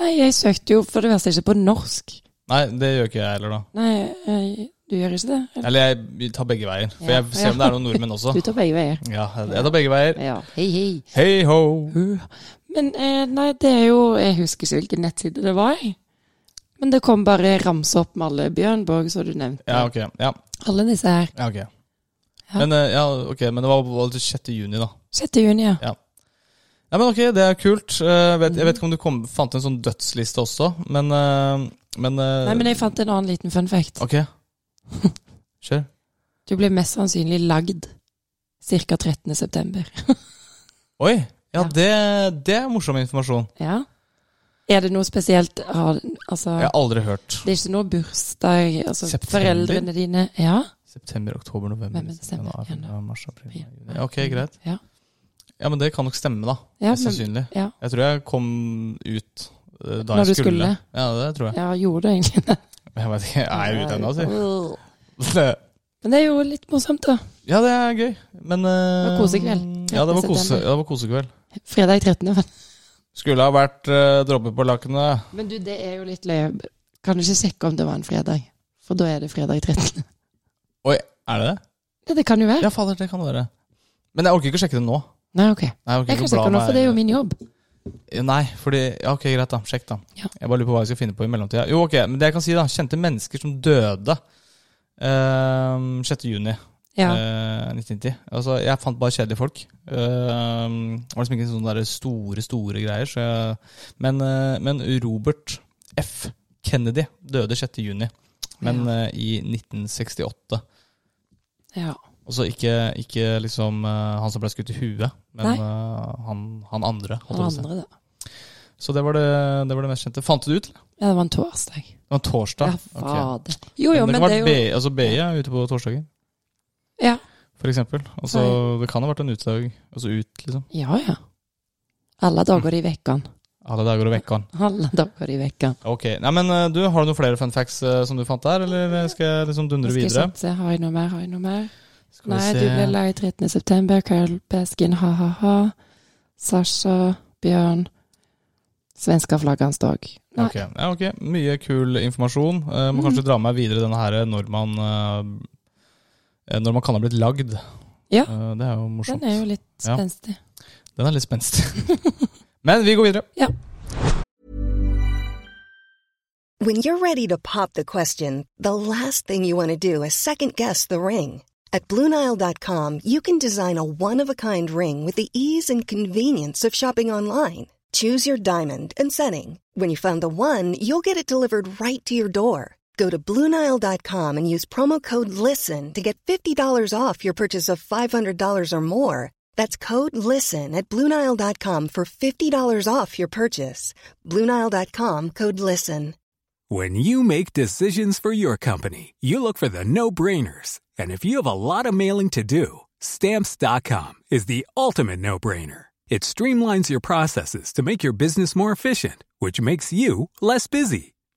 Speaker 2: Nei, jeg søkte jo for det verste ikke på norsk.
Speaker 1: Nei, det gjør ikke jeg heller, da.
Speaker 2: Nei, eh, du gjør ikke det? Eller?
Speaker 1: Eller jeg tar begge veier. For
Speaker 2: Ja,
Speaker 1: jeg ser om det
Speaker 2: ja.
Speaker 1: er noen nordmenn også.
Speaker 2: Du tar begge veier.
Speaker 1: Ja, jeg tar begge veier.
Speaker 2: Ja, hei, hei.
Speaker 1: Hei ho!
Speaker 2: Uh. Men eh, nei, det er jo Jeg husker ikke hvilken nettside det var. jeg. Men det kom bare ramse opp med alle Bjørnborg, som du nevnte.
Speaker 1: Ja, ok. Ja,
Speaker 2: Alle disse her.
Speaker 1: ja ok.
Speaker 2: Ja.
Speaker 1: Men, eh, ja, ok, men det var, var det 6. juni, da.
Speaker 2: 6. juni, ja.
Speaker 1: Ja, men ok, det er kult. Eh, Jeg vet, jeg vet ikke om du kom, fant en sånn dødsliste også, men, eh, men eh,
Speaker 2: Nei, men jeg fant en annen liten fun fact.
Speaker 1: Ok. Kjør.
Speaker 2: Du ble mest sannsynlig lagd ca. 13. september.
Speaker 1: Oi! Ja,
Speaker 2: Ja.
Speaker 1: Det, det er morsom informasjon.
Speaker 2: Ja. Er det noe spesielt har- Altså,
Speaker 1: Jeg har aldri hørt.
Speaker 2: det er ikke noe bursdag altså,
Speaker 1: September?
Speaker 2: Foreldrene dine Ja.
Speaker 1: September, oktober, november,
Speaker 2: Hvem er desember?
Speaker 1: januar, februar, mars, april
Speaker 2: Ja.
Speaker 1: juni. Ok, greit.
Speaker 2: Ja.
Speaker 1: Ja, men det kan nok stemme, da.
Speaker 2: Ja,
Speaker 1: Mest
Speaker 2: men,
Speaker 1: sannsynlig.
Speaker 2: ja.
Speaker 1: Jeg tror jeg kom ut eh, da
Speaker 2: Når du
Speaker 1: jeg skulle.
Speaker 2: skulle.
Speaker 1: Ja, det tror jeg.
Speaker 2: ja, gjorde det egentlig det?
Speaker 1: Jeg vet ikke, jeg er jo ute ennå, altså.
Speaker 2: Åh.
Speaker 1: si.
Speaker 2: Men det er jo litt morsomt, da.
Speaker 1: Ja, det er gøy, men Det
Speaker 2: var kosekveld.
Speaker 1: Ja, det var,
Speaker 2: 13.
Speaker 1: kose,
Speaker 2: september.
Speaker 1: ja, det var kosekveld.
Speaker 2: Fredag 13. vel.
Speaker 1: Skulle ha vært eh, dråper på lakenet.
Speaker 2: Men du, det er jo litt løye. Kan du ikke sjekke om det var en fredag? For da er det fredag 13.
Speaker 1: Oi, er det det?
Speaker 2: Ja, det kan jo være.
Speaker 1: Ja, fader, det kan det være. Men jeg orker ikke å sjekke det nå.
Speaker 2: Nei, ok.
Speaker 1: Nei, orker ikke
Speaker 2: Jeg kan
Speaker 1: å bla
Speaker 2: sjekke nå,
Speaker 1: meg-
Speaker 2: for det er jo min jobb.
Speaker 1: Eh, Nei, fordi Ja, ok, greit, da. Sjekk, da.
Speaker 2: Ja.
Speaker 1: Jeg bare lurer på hva jeg skal finne på i mellomtida. Jo, ok, men det jeg kan si, da. Kjente mennesker som døde ehm, 6. juni
Speaker 2: Ja.
Speaker 1: eh, 1990. Altså, jeg fant bare kjedelige folk. Ehm, det var liksom ikke sånne der store, store greier. Så jeg, men, eh, men Robert F. Kennedy døde 6. juni, men
Speaker 2: Ja.
Speaker 1: eh, i 1968.
Speaker 2: ja.
Speaker 1: Altså ikke, ikke liksom eh, han som ble skutt i huet, men
Speaker 2: Nei.
Speaker 1: eh, han, han andre. holdt jeg
Speaker 2: Og
Speaker 1: på å si.
Speaker 2: andre, da.
Speaker 1: Så det var det, det var det mest kjente. Fant du det ut? eller?
Speaker 2: Ja, det var en torsdag.
Speaker 1: Det var en torsdag.
Speaker 2: Ja,
Speaker 1: Ok.
Speaker 2: fader. Jo,
Speaker 1: det
Speaker 2: jo, men
Speaker 1: kan
Speaker 2: det
Speaker 1: ha vært
Speaker 2: er jo
Speaker 1: BI altså BI er ute på torsdager,
Speaker 2: Ja,
Speaker 1: for eksempel. Altså, det kan ha vært en utdag. Altså ut, liksom.
Speaker 2: ja. ja. Alle dager i vekken.
Speaker 1: Alle dager og vekkene.
Speaker 2: Alle dager i vekken.
Speaker 1: Ok. Nei, men eh, du, har du noen flere fun facts eh, som du fant der, eller skal jeg liksom dundre
Speaker 2: Skal jeg
Speaker 1: videre?
Speaker 2: satse? Har jeg noe mer? Har jeg noe mer?
Speaker 1: Skal vi
Speaker 2: Nei,
Speaker 1: se.
Speaker 2: du ble lei 13. september. Carl Beskin, ha-ha-ha. Sasha, Bjørn. Svenska flaggans dag. Nei. Mm.
Speaker 1: Ok, Ja, ok. Mye kul informasjon. Eh, må kanskje dra meg videre denne her når man eh, Når man kan ha blitt lagd.
Speaker 2: Ja.
Speaker 1: Eh, det er jo morsomt.
Speaker 2: Den er jo litt
Speaker 1: Ja.
Speaker 2: spenstig.
Speaker 1: Den er litt spenstig. Men vi går videre.
Speaker 3: When you're ready to pop the question, the last thing you want to do is second guess the ring. At Bluenile.com, you can design a one of a kind ring with the ease and convenience of shopping online. Choose your diamond and setting. When you find the one, you'll get it delivered right to your door. Go to Bluenile.com and use promo code LISTEN to get $50 off your purchase of $500 or more. That's code LISTEN at Bluenile.com for $50 off your purchase. Bluenile.com code LISTEN.
Speaker 4: When you make decisions for your company, you look for the no brainers. And if you have a lot of mailing to do, stamps.com is the ultimate no brainer. It streamlines your processes to make your business more efficient, which makes you less busy.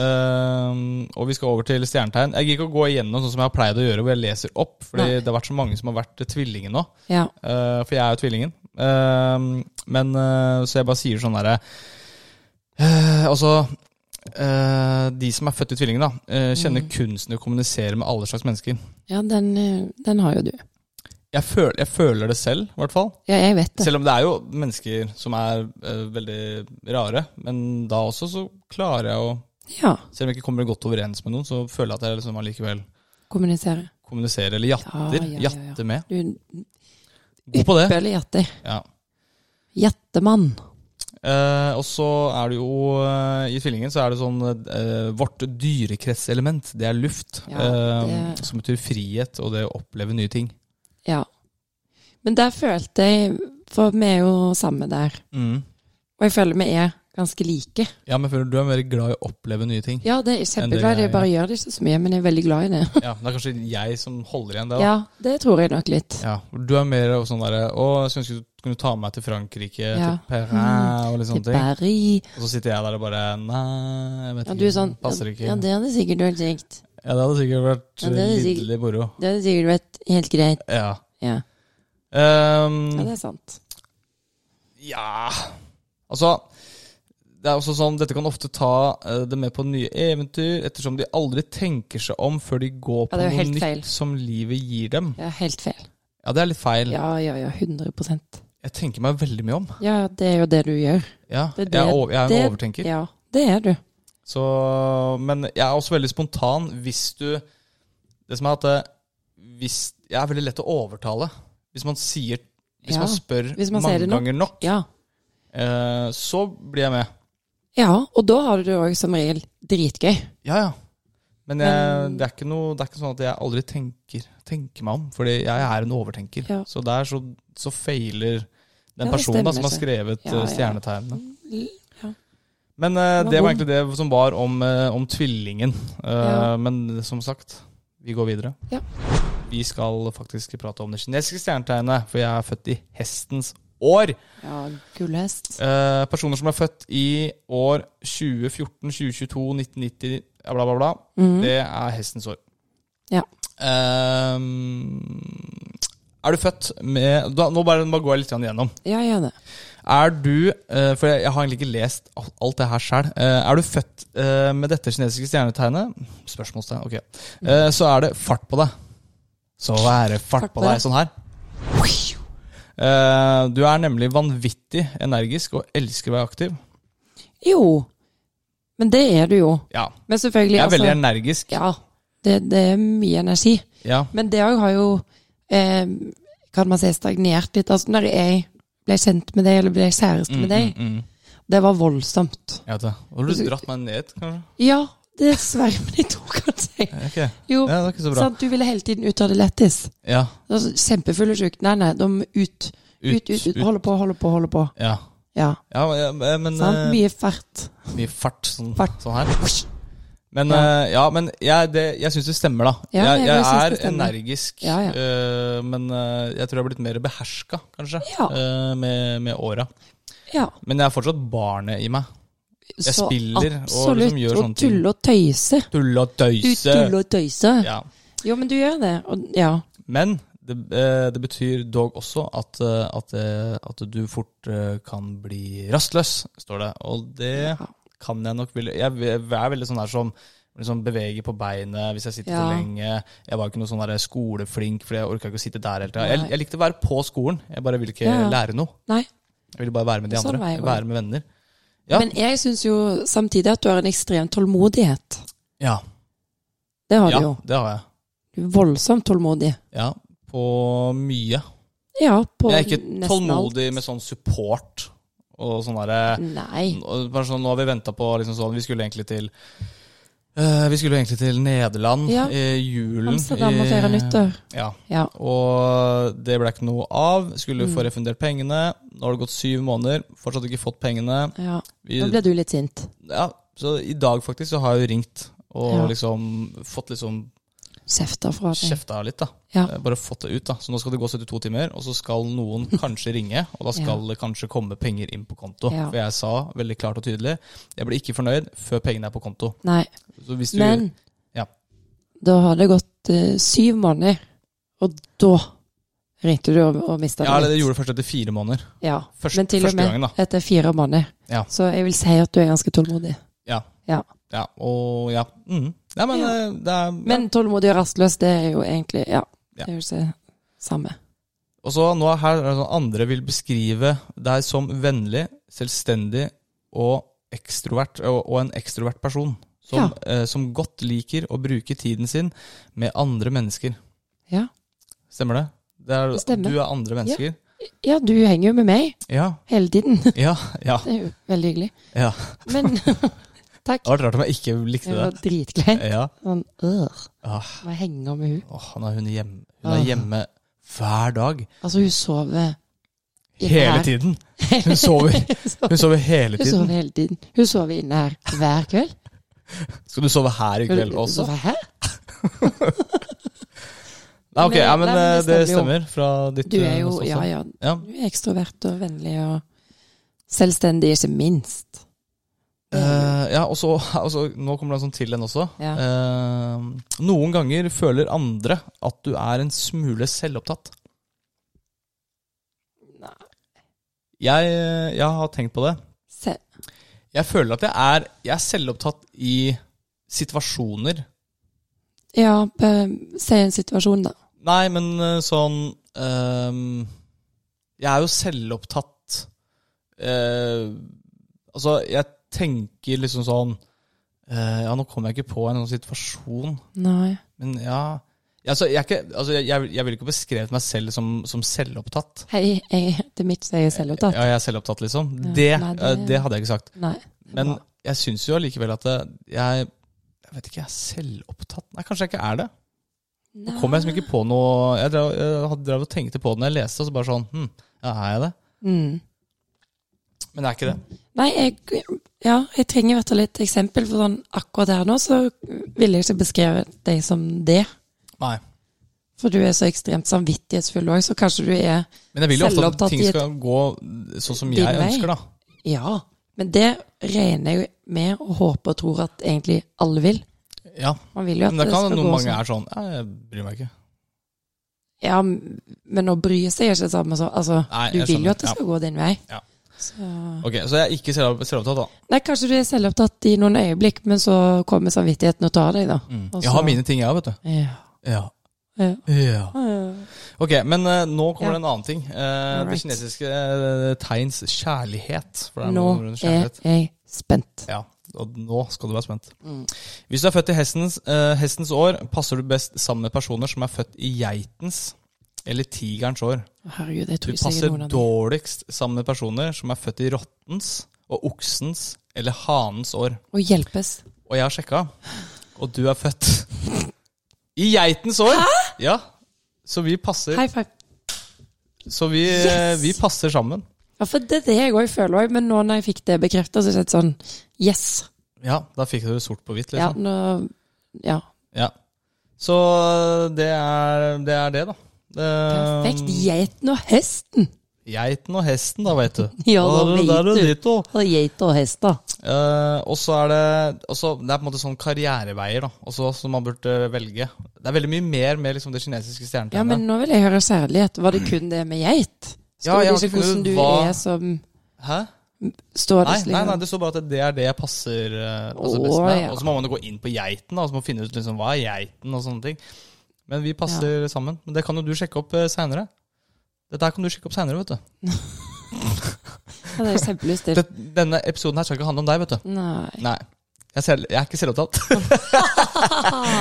Speaker 1: Ehm, og vi skal over til stjernetegn. Jeg gidder ikke å gå igjennom sånn som jeg har pleid å gjøre, hvor jeg leser opp. Fordi
Speaker 2: Nei.
Speaker 1: det har vært så mange som har vært eh, tvillingen nå.
Speaker 2: Ja.
Speaker 1: Eh, for jeg er jo tvillingen. Ehm, men eh, Så jeg bare sier sånn derre eh, Altså eh, De som er født i tvillingen, da, eh,
Speaker 2: Mm.
Speaker 1: kjenner kunsten å kommunisere med alle slags mennesker.
Speaker 2: ja, den, eh, den har jo du.
Speaker 1: Jeg føler, jeg føler det selv, i hvert fall.
Speaker 2: Ja, jeg vet det.
Speaker 1: Selv om det er jo mennesker som er eh, veldig rare. Men da også så klarer jeg å
Speaker 2: Ja,
Speaker 1: Selv om jeg ikke kommer godt overens med noen, så føler jeg at jeg liksom allikevel
Speaker 2: kommunisere.
Speaker 1: kommuniserer, eller jatter.
Speaker 2: Ja, ja, ja, ja.
Speaker 1: Jatter med.
Speaker 2: Du er en
Speaker 1: God på det.
Speaker 2: ypperlig jatter.
Speaker 1: Ja.
Speaker 2: Jattemann.
Speaker 1: Eh, og så er det jo eh, I tvillingen så er det sånn eh, Vårt dyrekretselement, det er luft.
Speaker 2: Ja,
Speaker 1: eh,
Speaker 2: det-
Speaker 1: Som betyr frihet og det å oppleve nye ting.
Speaker 2: Ja. Men der følte jeg For vi er jo samme der. Og jeg føler vi er ganske like.
Speaker 1: Mm. Ja, men jeg føler du er mer glad i å oppleve nye ting.
Speaker 2: Ja, det er jeg
Speaker 1: Enn det jeg
Speaker 2: kjempeglad i. Jeg bare gjør det ikke så mye, men jeg er veldig glad i det.
Speaker 1: Ja, Det er kanskje jeg som holder igjen det. da.
Speaker 2: Ja, det tror jeg nok litt.
Speaker 1: Ja, Du er mer sånn derre Å, jeg skulle ønske du kunne ta meg til Frankrike,
Speaker 2: Ja. Mm.
Speaker 1: til Perrin og litt
Speaker 2: Til
Speaker 1: sånne ting.
Speaker 2: Paris.
Speaker 1: Og så sitter jeg der og bare Nei, jeg vet
Speaker 2: Ja,
Speaker 1: ikke.
Speaker 2: du er sånn
Speaker 1: passer ikke.
Speaker 2: Ja, det hadde sikkert vært kjekt.
Speaker 1: Ja, det hadde sikkert vært
Speaker 2: Ja, det hadde sikkert-
Speaker 1: lidderlig moro.
Speaker 2: Det hadde sikkert vært helt greit.
Speaker 1: Ja.
Speaker 2: Ja,
Speaker 1: Ehm,
Speaker 2: ja det er sant.
Speaker 1: ja Altså, det er også sånn dette kan ofte ta eh, det med på nye eventyr, ettersom de aldri tenker seg om før de går
Speaker 2: Ja,
Speaker 1: på
Speaker 2: det er jo
Speaker 1: noe
Speaker 2: helt
Speaker 1: nytt
Speaker 2: feil.
Speaker 1: som livet gir dem.
Speaker 2: Ja, helt feil.
Speaker 1: Ja, det er litt feil.
Speaker 2: Ja, ja, ja. 100
Speaker 1: Jeg tenker meg veldig mye om.
Speaker 2: Ja, det er jo det du gjør.
Speaker 1: Ja,
Speaker 2: Det
Speaker 1: jeg, er
Speaker 2: er det-
Speaker 1: over, jeg er en
Speaker 2: det-
Speaker 1: overtenker.
Speaker 2: Ja, det er du.
Speaker 1: Så, men jeg er også veldig spontan hvis du Det som er at eh, hvis, jeg er veldig lett å overtale. Hvis man sier Hvis
Speaker 2: Ja,
Speaker 1: man spør
Speaker 2: hvis man
Speaker 1: mange
Speaker 2: sier det nok.
Speaker 1: ganger nok,
Speaker 2: Ja.
Speaker 1: eh, så blir jeg med.
Speaker 2: ja, og da har du det òg som regel dritgøy.
Speaker 1: Ja, ja. Men jeg,
Speaker 2: Men-
Speaker 1: det, er ikke noe, det er ikke sånn at jeg aldri tenker, tenker meg om, fordi jeg er en overtenker.
Speaker 2: Ja.
Speaker 1: Så der så, så feiler
Speaker 2: Ja,
Speaker 1: den
Speaker 2: det
Speaker 1: personen da,
Speaker 2: stemmer
Speaker 1: som har
Speaker 2: seg.
Speaker 1: skrevet
Speaker 2: Ja,
Speaker 1: eh,
Speaker 2: ja.
Speaker 1: stjernetegnene.
Speaker 2: Ja.
Speaker 1: Men eh,
Speaker 2: var
Speaker 1: det var
Speaker 2: bom.
Speaker 1: egentlig det som var om, eh, om tvillingen. Eh,
Speaker 2: Ja.
Speaker 1: Men som sagt, vi går videre.
Speaker 2: Ja.
Speaker 1: Vi skal faktisk prate om det kinesiske stjernetegnet, for jeg er født i hestens år.
Speaker 2: Ja, gullhest.
Speaker 1: Eh, personer som er født i år 2014, 2022, 1990, ja, bla, bla, bla. Det er hestens år.
Speaker 2: Ja.
Speaker 1: Ehm, er du født med da, Nå bare, bare går jeg litt grann igjennom.
Speaker 2: Ja, gjør det.
Speaker 1: Er du eh, For jeg, jeg har egentlig ikke lest al- alt det her sjøl. Er du født eh, med dette kinesiske stjernetegnet? Spørsmålstegn. Ok. Eh, Så er det fart på deg. Så er det fart,
Speaker 2: Fart
Speaker 1: på
Speaker 2: på
Speaker 1: deg.
Speaker 2: deg.
Speaker 1: Sånn her. Eh, Du er nemlig vanvittig energisk og elsker å være aktiv.
Speaker 2: Jo. Men det er du jo.
Speaker 1: Ja.
Speaker 2: Men selvfølgelig
Speaker 1: Jeg er veldig
Speaker 2: altså,
Speaker 1: energisk.
Speaker 2: Ja. Det, det er mye energi.
Speaker 1: Ja. Mm,
Speaker 2: Men det òg har jo eh, Kan man si stagnert litt. Altså, når jeg ble kjent med deg, eller ble kjæreste med deg,
Speaker 1: Mm, mm.
Speaker 2: det var voldsomt.
Speaker 1: Jeg vet det. Har
Speaker 2: Altså-
Speaker 1: du dratt meg ned, kanskje?
Speaker 2: Ja, dessverre, men jeg tror kanskje jeg
Speaker 1: Ok.
Speaker 2: Jo,
Speaker 1: Ja, det er ikke så bra.
Speaker 2: sant, du ville hele tiden ut av det lettis.
Speaker 1: Ja.
Speaker 2: Altså, Kjempefull og sjuk. Nei, nei, de må ut. Ut, ut, ut. Holde på, holde på, holde på.
Speaker 1: Ja.
Speaker 2: Ja.
Speaker 1: ja, men eh,
Speaker 2: Sant? Mye fart.
Speaker 1: mye fart, sånn,
Speaker 2: Fart.
Speaker 1: sånn her. Men, eh, ja, men jeg, det, jeg syns det stemmer, da.
Speaker 2: Ja,
Speaker 1: jeg
Speaker 2: jeg
Speaker 1: jeg
Speaker 2: synes
Speaker 1: er
Speaker 2: det stemmer.
Speaker 1: energisk,
Speaker 2: Ja, ja.
Speaker 1: eh, men eh, jeg tror jeg har blitt mer beherska, kanskje,
Speaker 2: Ja.
Speaker 1: eh, med, med åra.
Speaker 2: Ja,
Speaker 1: Men jeg er fortsatt barnet i meg. Jeg
Speaker 2: så
Speaker 1: spiller og liksom
Speaker 2: absolutt.
Speaker 1: gjør sånne ting.
Speaker 2: tulle og tøyse.
Speaker 1: Tulle og
Speaker 2: Du
Speaker 1: tøyse.
Speaker 2: tuller og tøyser.
Speaker 1: Ja.
Speaker 2: Jo, men du gjør det. Og, ja.
Speaker 1: Men det, eh, det betyr dog også at, eh, at, eh, at du fort eh, kan bli rastløs, står det. Og det
Speaker 2: Ja.
Speaker 1: kan jeg nok ville- Jeg ve- er veldig sånn der som liksom beveger på beinet hvis jeg sitter
Speaker 2: Ja.
Speaker 1: for lenge. Jeg var ikke noe sånn der skoleflink, for jeg orka ikke å sitte der hele tida.
Speaker 2: Nei.
Speaker 1: Jeg, jeg likte å være på skolen, jeg bare ville ikke
Speaker 2: Ja, ja.
Speaker 1: lære noe.
Speaker 2: Nei.
Speaker 1: Jeg ville bare være med de
Speaker 2: Sånn
Speaker 1: andre.
Speaker 2: var jeg også.
Speaker 1: være med venner. Ja.
Speaker 2: Men jeg syns jo samtidig at du har en ekstrem tålmodighet.
Speaker 1: Ja,
Speaker 2: Det har
Speaker 1: ja
Speaker 2: du jo.
Speaker 1: det har jeg.
Speaker 2: Du er voldsomt tålmodig.
Speaker 1: Ja, på mye.
Speaker 2: Ja, på
Speaker 1: Jeg er ikke
Speaker 2: nesten
Speaker 1: tålmodig
Speaker 2: alt.
Speaker 1: med sånn support og sånn derre
Speaker 2: Nei.
Speaker 1: Og bare sånn, Nå har vi venta på liksom sånn, Vi skulle egentlig til eh, Vi skulle egentlig til Nederland
Speaker 2: Ja.
Speaker 1: i julen.
Speaker 2: Amsterdam og
Speaker 1: i-
Speaker 2: feire nyttår.
Speaker 1: Ja.
Speaker 2: Ja.
Speaker 1: Og det ble ikke noe av. Skulle
Speaker 2: Mm.
Speaker 1: få refundert pengene. Nå har det gått syv måneder, fortsatt ikke fått pengene.
Speaker 2: ja.
Speaker 1: Vi,
Speaker 2: Nå ble du litt sint.
Speaker 1: ja, så i dag faktisk så har jeg jo ringt og
Speaker 2: Ja.
Speaker 1: liksom fått liksom
Speaker 2: Kjefta fra deg.
Speaker 1: kjefta litt, da.
Speaker 2: Ja.
Speaker 1: Eh, Bare fått det ut, da. Så nå skal det gå 72 timer, og så skal noen kanskje ringe, og da skal det kanskje komme penger inn på konto.
Speaker 2: Ja.
Speaker 1: For jeg sa veldig klart og tydelig, jeg blir ikke fornøyd før pengene er på konto.
Speaker 2: Nei.
Speaker 1: Så hvis du,
Speaker 2: Men
Speaker 1: Ja.
Speaker 2: da har det gått eh, syv måneder, og da ringte du og, og mista
Speaker 1: Ja, eller
Speaker 2: det
Speaker 1: det
Speaker 2: litt.
Speaker 1: gjorde det først etter fire måneder.
Speaker 2: Ja,
Speaker 1: Først-
Speaker 2: Men til og
Speaker 1: første
Speaker 2: med
Speaker 1: gangen, da.
Speaker 2: etter fire måneder.
Speaker 1: Ja.
Speaker 2: Så jeg vil si at du er ganske tålmodig.
Speaker 1: Ja.
Speaker 2: Ja.
Speaker 1: ja og ja. Mm. Nei, men
Speaker 2: Ja.
Speaker 1: eh, det er
Speaker 2: Men tålmodig og rastløs, det er jo egentlig Ja,
Speaker 1: Ja.
Speaker 2: det er jo det samme.
Speaker 1: Og så nå her er det sånn andre vil beskrive deg som vennlig, selvstendig og ekstrovert, og, og en ekstrovert person. Som, eh, som godt liker å bruke tiden sin med andre mennesker.
Speaker 2: Ja.
Speaker 1: Stemmer det? det, er,
Speaker 2: Det stemmer.
Speaker 1: Du er andre mennesker.
Speaker 2: ja, du henger jo med meg
Speaker 1: Ja.
Speaker 2: hele tiden.
Speaker 1: Ja. ja,
Speaker 2: Det er jo veldig hyggelig.
Speaker 1: ja.
Speaker 2: Men takk.
Speaker 1: Det hadde vært rart om jeg ikke
Speaker 2: Det
Speaker 1: likte det.
Speaker 2: var dritgleint.
Speaker 1: Ja.
Speaker 2: Sånn øh,
Speaker 1: Ah,
Speaker 2: Må jeg henge med hun?
Speaker 1: åh, nå er hun hjemme. Hun
Speaker 2: Ah.
Speaker 1: er hjemme hver dag.
Speaker 2: Altså, hun sover inne
Speaker 1: Hele
Speaker 2: her.
Speaker 1: tiden. Hun sover, hun sover hele
Speaker 2: Hun sover
Speaker 1: tiden.
Speaker 2: hele tiden. Hun sover inne her hver kveld.
Speaker 1: Skal du sove her i
Speaker 2: Hun-
Speaker 1: kveld
Speaker 2: hun
Speaker 1: også?
Speaker 2: sover her.
Speaker 1: Nei, ok,
Speaker 2: Nei,
Speaker 1: ja, men,
Speaker 2: nei, men
Speaker 1: eh,
Speaker 2: det
Speaker 1: det
Speaker 2: stemmer
Speaker 1: stemmer fra ditt
Speaker 2: Du er
Speaker 1: eh,
Speaker 2: jo
Speaker 1: ståsted.
Speaker 2: ja, ja, du
Speaker 1: Ja.
Speaker 2: er ekstrovert og vennlig og selvstendig, ikke minst.
Speaker 1: Eh, ja, og så og så- Nå kommer det en sånn til en også.
Speaker 2: Ja.
Speaker 1: Eh, noen ganger føler andre at du er en smule selvopptatt.
Speaker 2: Nei.
Speaker 1: Jeg, jeg har tenkt på det.
Speaker 2: Se,
Speaker 1: Jeg føler at jeg er, jeg er selvopptatt i situasjoner.
Speaker 2: ja, be- se en situasjon, da.
Speaker 1: Nei, men eh, sånn ehm, Jeg er jo selvopptatt eh, Altså, jeg tenker liksom sånn eh, Ja, nå kommer jeg ikke på en sånn situasjon,
Speaker 2: Nei.
Speaker 1: men ja Altså, jeg, er ikke, altså, jeg, jeg, jeg ville ikke beskrevet meg selv som, som selvopptatt.
Speaker 2: Hei, jeg heter Mitch, jeg er selvopptatt.
Speaker 1: Ja, jeg er selvopptatt, liksom.
Speaker 2: Ja,
Speaker 1: det,
Speaker 2: nei, det-
Speaker 1: eh, det hadde jeg ikke sagt.
Speaker 2: Nei.
Speaker 1: Men jeg syns jo allikevel at det- jeg Jeg vet ikke, jeg er selvopptatt Nei, kanskje jeg ikke er det.
Speaker 2: Nei.
Speaker 1: kom jeg liksom ikke på noe Jeg drev, jeg hadde drevet og tenkte på det når jeg leste, og så bare sånn hm, Ja, er jeg det?
Speaker 2: Mm.
Speaker 1: Men jeg er ikke det.
Speaker 2: Nei, jeg, ja, jeg trenger i hvert fall et eksempel, for sånn akkurat her nå så ville jeg ikke beskrevet deg som det.
Speaker 1: Nei.
Speaker 2: For du er så ekstremt samvittighetsfull òg, så kanskje du er
Speaker 1: Men jeg vil jo ofte at
Speaker 2: Selvopptatt
Speaker 1: ting
Speaker 2: i et-
Speaker 1: skal gå sånn som
Speaker 2: Din
Speaker 1: jeg
Speaker 2: vei.
Speaker 1: ønsker, da.
Speaker 2: Ja. Men det regner jeg jo med og håper og tror at egentlig alle vil.
Speaker 1: Ja.
Speaker 2: Man vil jo at
Speaker 1: Men det kan
Speaker 2: skal
Speaker 1: noen
Speaker 2: gå
Speaker 1: mange
Speaker 2: sånn.
Speaker 1: er sånn «Nei, Jeg bryr meg ikke.
Speaker 2: Ja, men å bry seg er ikke det samme som Altså,
Speaker 1: Nei,
Speaker 2: du
Speaker 1: jeg
Speaker 2: vil
Speaker 1: skjønner.
Speaker 2: jo at det skal gå din vei.
Speaker 1: Ja.
Speaker 2: Så
Speaker 1: Ok, Så jeg er ikke selv- selvopptatt, da.
Speaker 2: Nei, kanskje du er selvopptatt i noen øyeblikk, men så kommer samvittigheten og tar deg, da. Og
Speaker 1: Mm. Jeg
Speaker 2: så-
Speaker 1: har mine ting, jeg òg, vet du.
Speaker 2: Ja.
Speaker 1: Ja.
Speaker 2: ja.
Speaker 1: ja.
Speaker 2: ja.
Speaker 1: Ok, men eh, nå kommer
Speaker 2: Ja.
Speaker 1: det en annen ting. Eh, det
Speaker 2: Alright.
Speaker 1: kinesiske eh, tegns kjærlighet. For det er
Speaker 2: Nå
Speaker 1: noe rundt
Speaker 2: er
Speaker 1: kjærlighet.
Speaker 2: jeg spent.
Speaker 1: Ja, og nå skal du være spent.
Speaker 2: Mm.
Speaker 1: Hvis du er født i hestens, eh, hestens år, passer du best sammen med personer som er født i geitens eller tigerens år.
Speaker 2: Herregud, jeg
Speaker 1: Du
Speaker 2: tror sikkert
Speaker 1: passer
Speaker 2: noen av dem.
Speaker 1: dårligst sammen med personer som er født i rottens og oksens eller hanens år.
Speaker 2: Å hjelpes.
Speaker 1: Og jeg har sjekka, og du er født i geitens år! Ja, så vi passer,
Speaker 2: High five.
Speaker 1: så vi, eh,
Speaker 2: Yes!
Speaker 1: vi passer sammen.
Speaker 2: Ja, for det er det jeg òg føler òg, men nå når jeg fikk det bekrefta, så er det sånn Yes!
Speaker 1: Ja, da fikk dere sort på hvitt,
Speaker 2: Ja,
Speaker 1: liksom.
Speaker 2: nå, ja.
Speaker 1: Ja. Så eh, det er det, er det da. Eh,
Speaker 2: Perfekt. Geiten og hesten.
Speaker 1: Geiten og hesten, da, veit du.
Speaker 2: Ja, da
Speaker 1: er du-
Speaker 2: vet
Speaker 1: der er
Speaker 2: du.
Speaker 1: ditt også.
Speaker 2: Og geit og hest, da.
Speaker 1: Eh, og så er det også, Det er på en måte sånn karriereveier da også, som man burde velge. Det er veldig mye mer med liksom, det kinesiske stjernetegnet.
Speaker 2: Ja, men nå vil jeg høre særlighet. Var det kun det med geit?
Speaker 1: Mm. Ja,
Speaker 2: Står
Speaker 1: jeg
Speaker 2: det
Speaker 1: har
Speaker 2: ikke
Speaker 1: ikke funnet
Speaker 2: hvordan
Speaker 1: ut
Speaker 2: du
Speaker 1: hva-
Speaker 2: er som
Speaker 1: Hæ?
Speaker 2: Står det
Speaker 1: Nei,
Speaker 2: slik?
Speaker 1: nei, nei, det står bare at det er det jeg passer eh, passer
Speaker 2: Å,
Speaker 1: best med.
Speaker 2: ja.
Speaker 1: Og så må man jo gå inn på geiten da, og så må man finne ut liksom, hva er geiten og sånne ting. Men vi passer sammen. Men det kan jo du sjekke opp uh, seinere. Dette her kan du sjekke opp seinere, vet du.
Speaker 2: Ja, det er kjempelyst til.
Speaker 1: Det, denne episoden her skal ikke handle om deg, vet du.
Speaker 2: Nei.
Speaker 1: Nei. Jeg, selv, jeg er ikke selvopptatt.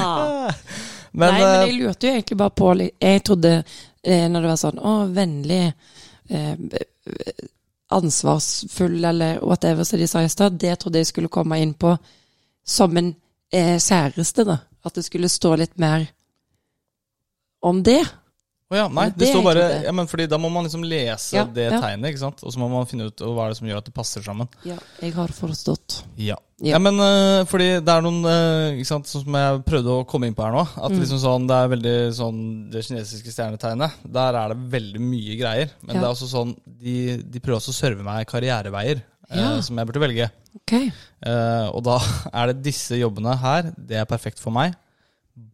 Speaker 2: Nei, men
Speaker 1: eh,
Speaker 2: jeg lurte jo egentlig bare på litt- Jeg trodde eh, når det var sånn Å, vennlig eh, b- Ansvarsfull eller whatever som de sa i stad, det trodde jeg skulle komme inn på som en eh, kjæreste, da. At det skulle stå litt mer om det.
Speaker 1: Å ja, nei,
Speaker 2: Men
Speaker 1: det
Speaker 2: det
Speaker 1: står
Speaker 2: er
Speaker 1: bare
Speaker 2: ikke det.
Speaker 1: ja, men fordi Da må man liksom lese
Speaker 2: Ja,
Speaker 1: det
Speaker 2: ja.
Speaker 1: tegnet, ikke sant? og så må man finne ut hva er det som gjør at det passer sammen.
Speaker 2: Ja, jeg har forstått.
Speaker 1: Ja,
Speaker 2: Ja.
Speaker 1: men øh, fordi det er noen øh, ikke sant, Sånn som jeg prøvde å komme inn på her nå
Speaker 2: Mm.
Speaker 1: At liksom sånn, det er veldig sånn Det kinesiske stjernetegnet Der er det veldig mye greier Men
Speaker 2: Ja.
Speaker 1: det er også sånn De, de prøver også å serve meg karriereveier øh,
Speaker 2: Ja.
Speaker 1: Som jeg burde velge
Speaker 2: Ok.
Speaker 1: Eh, Og da er det disse jobbene her Det er perfekt for meg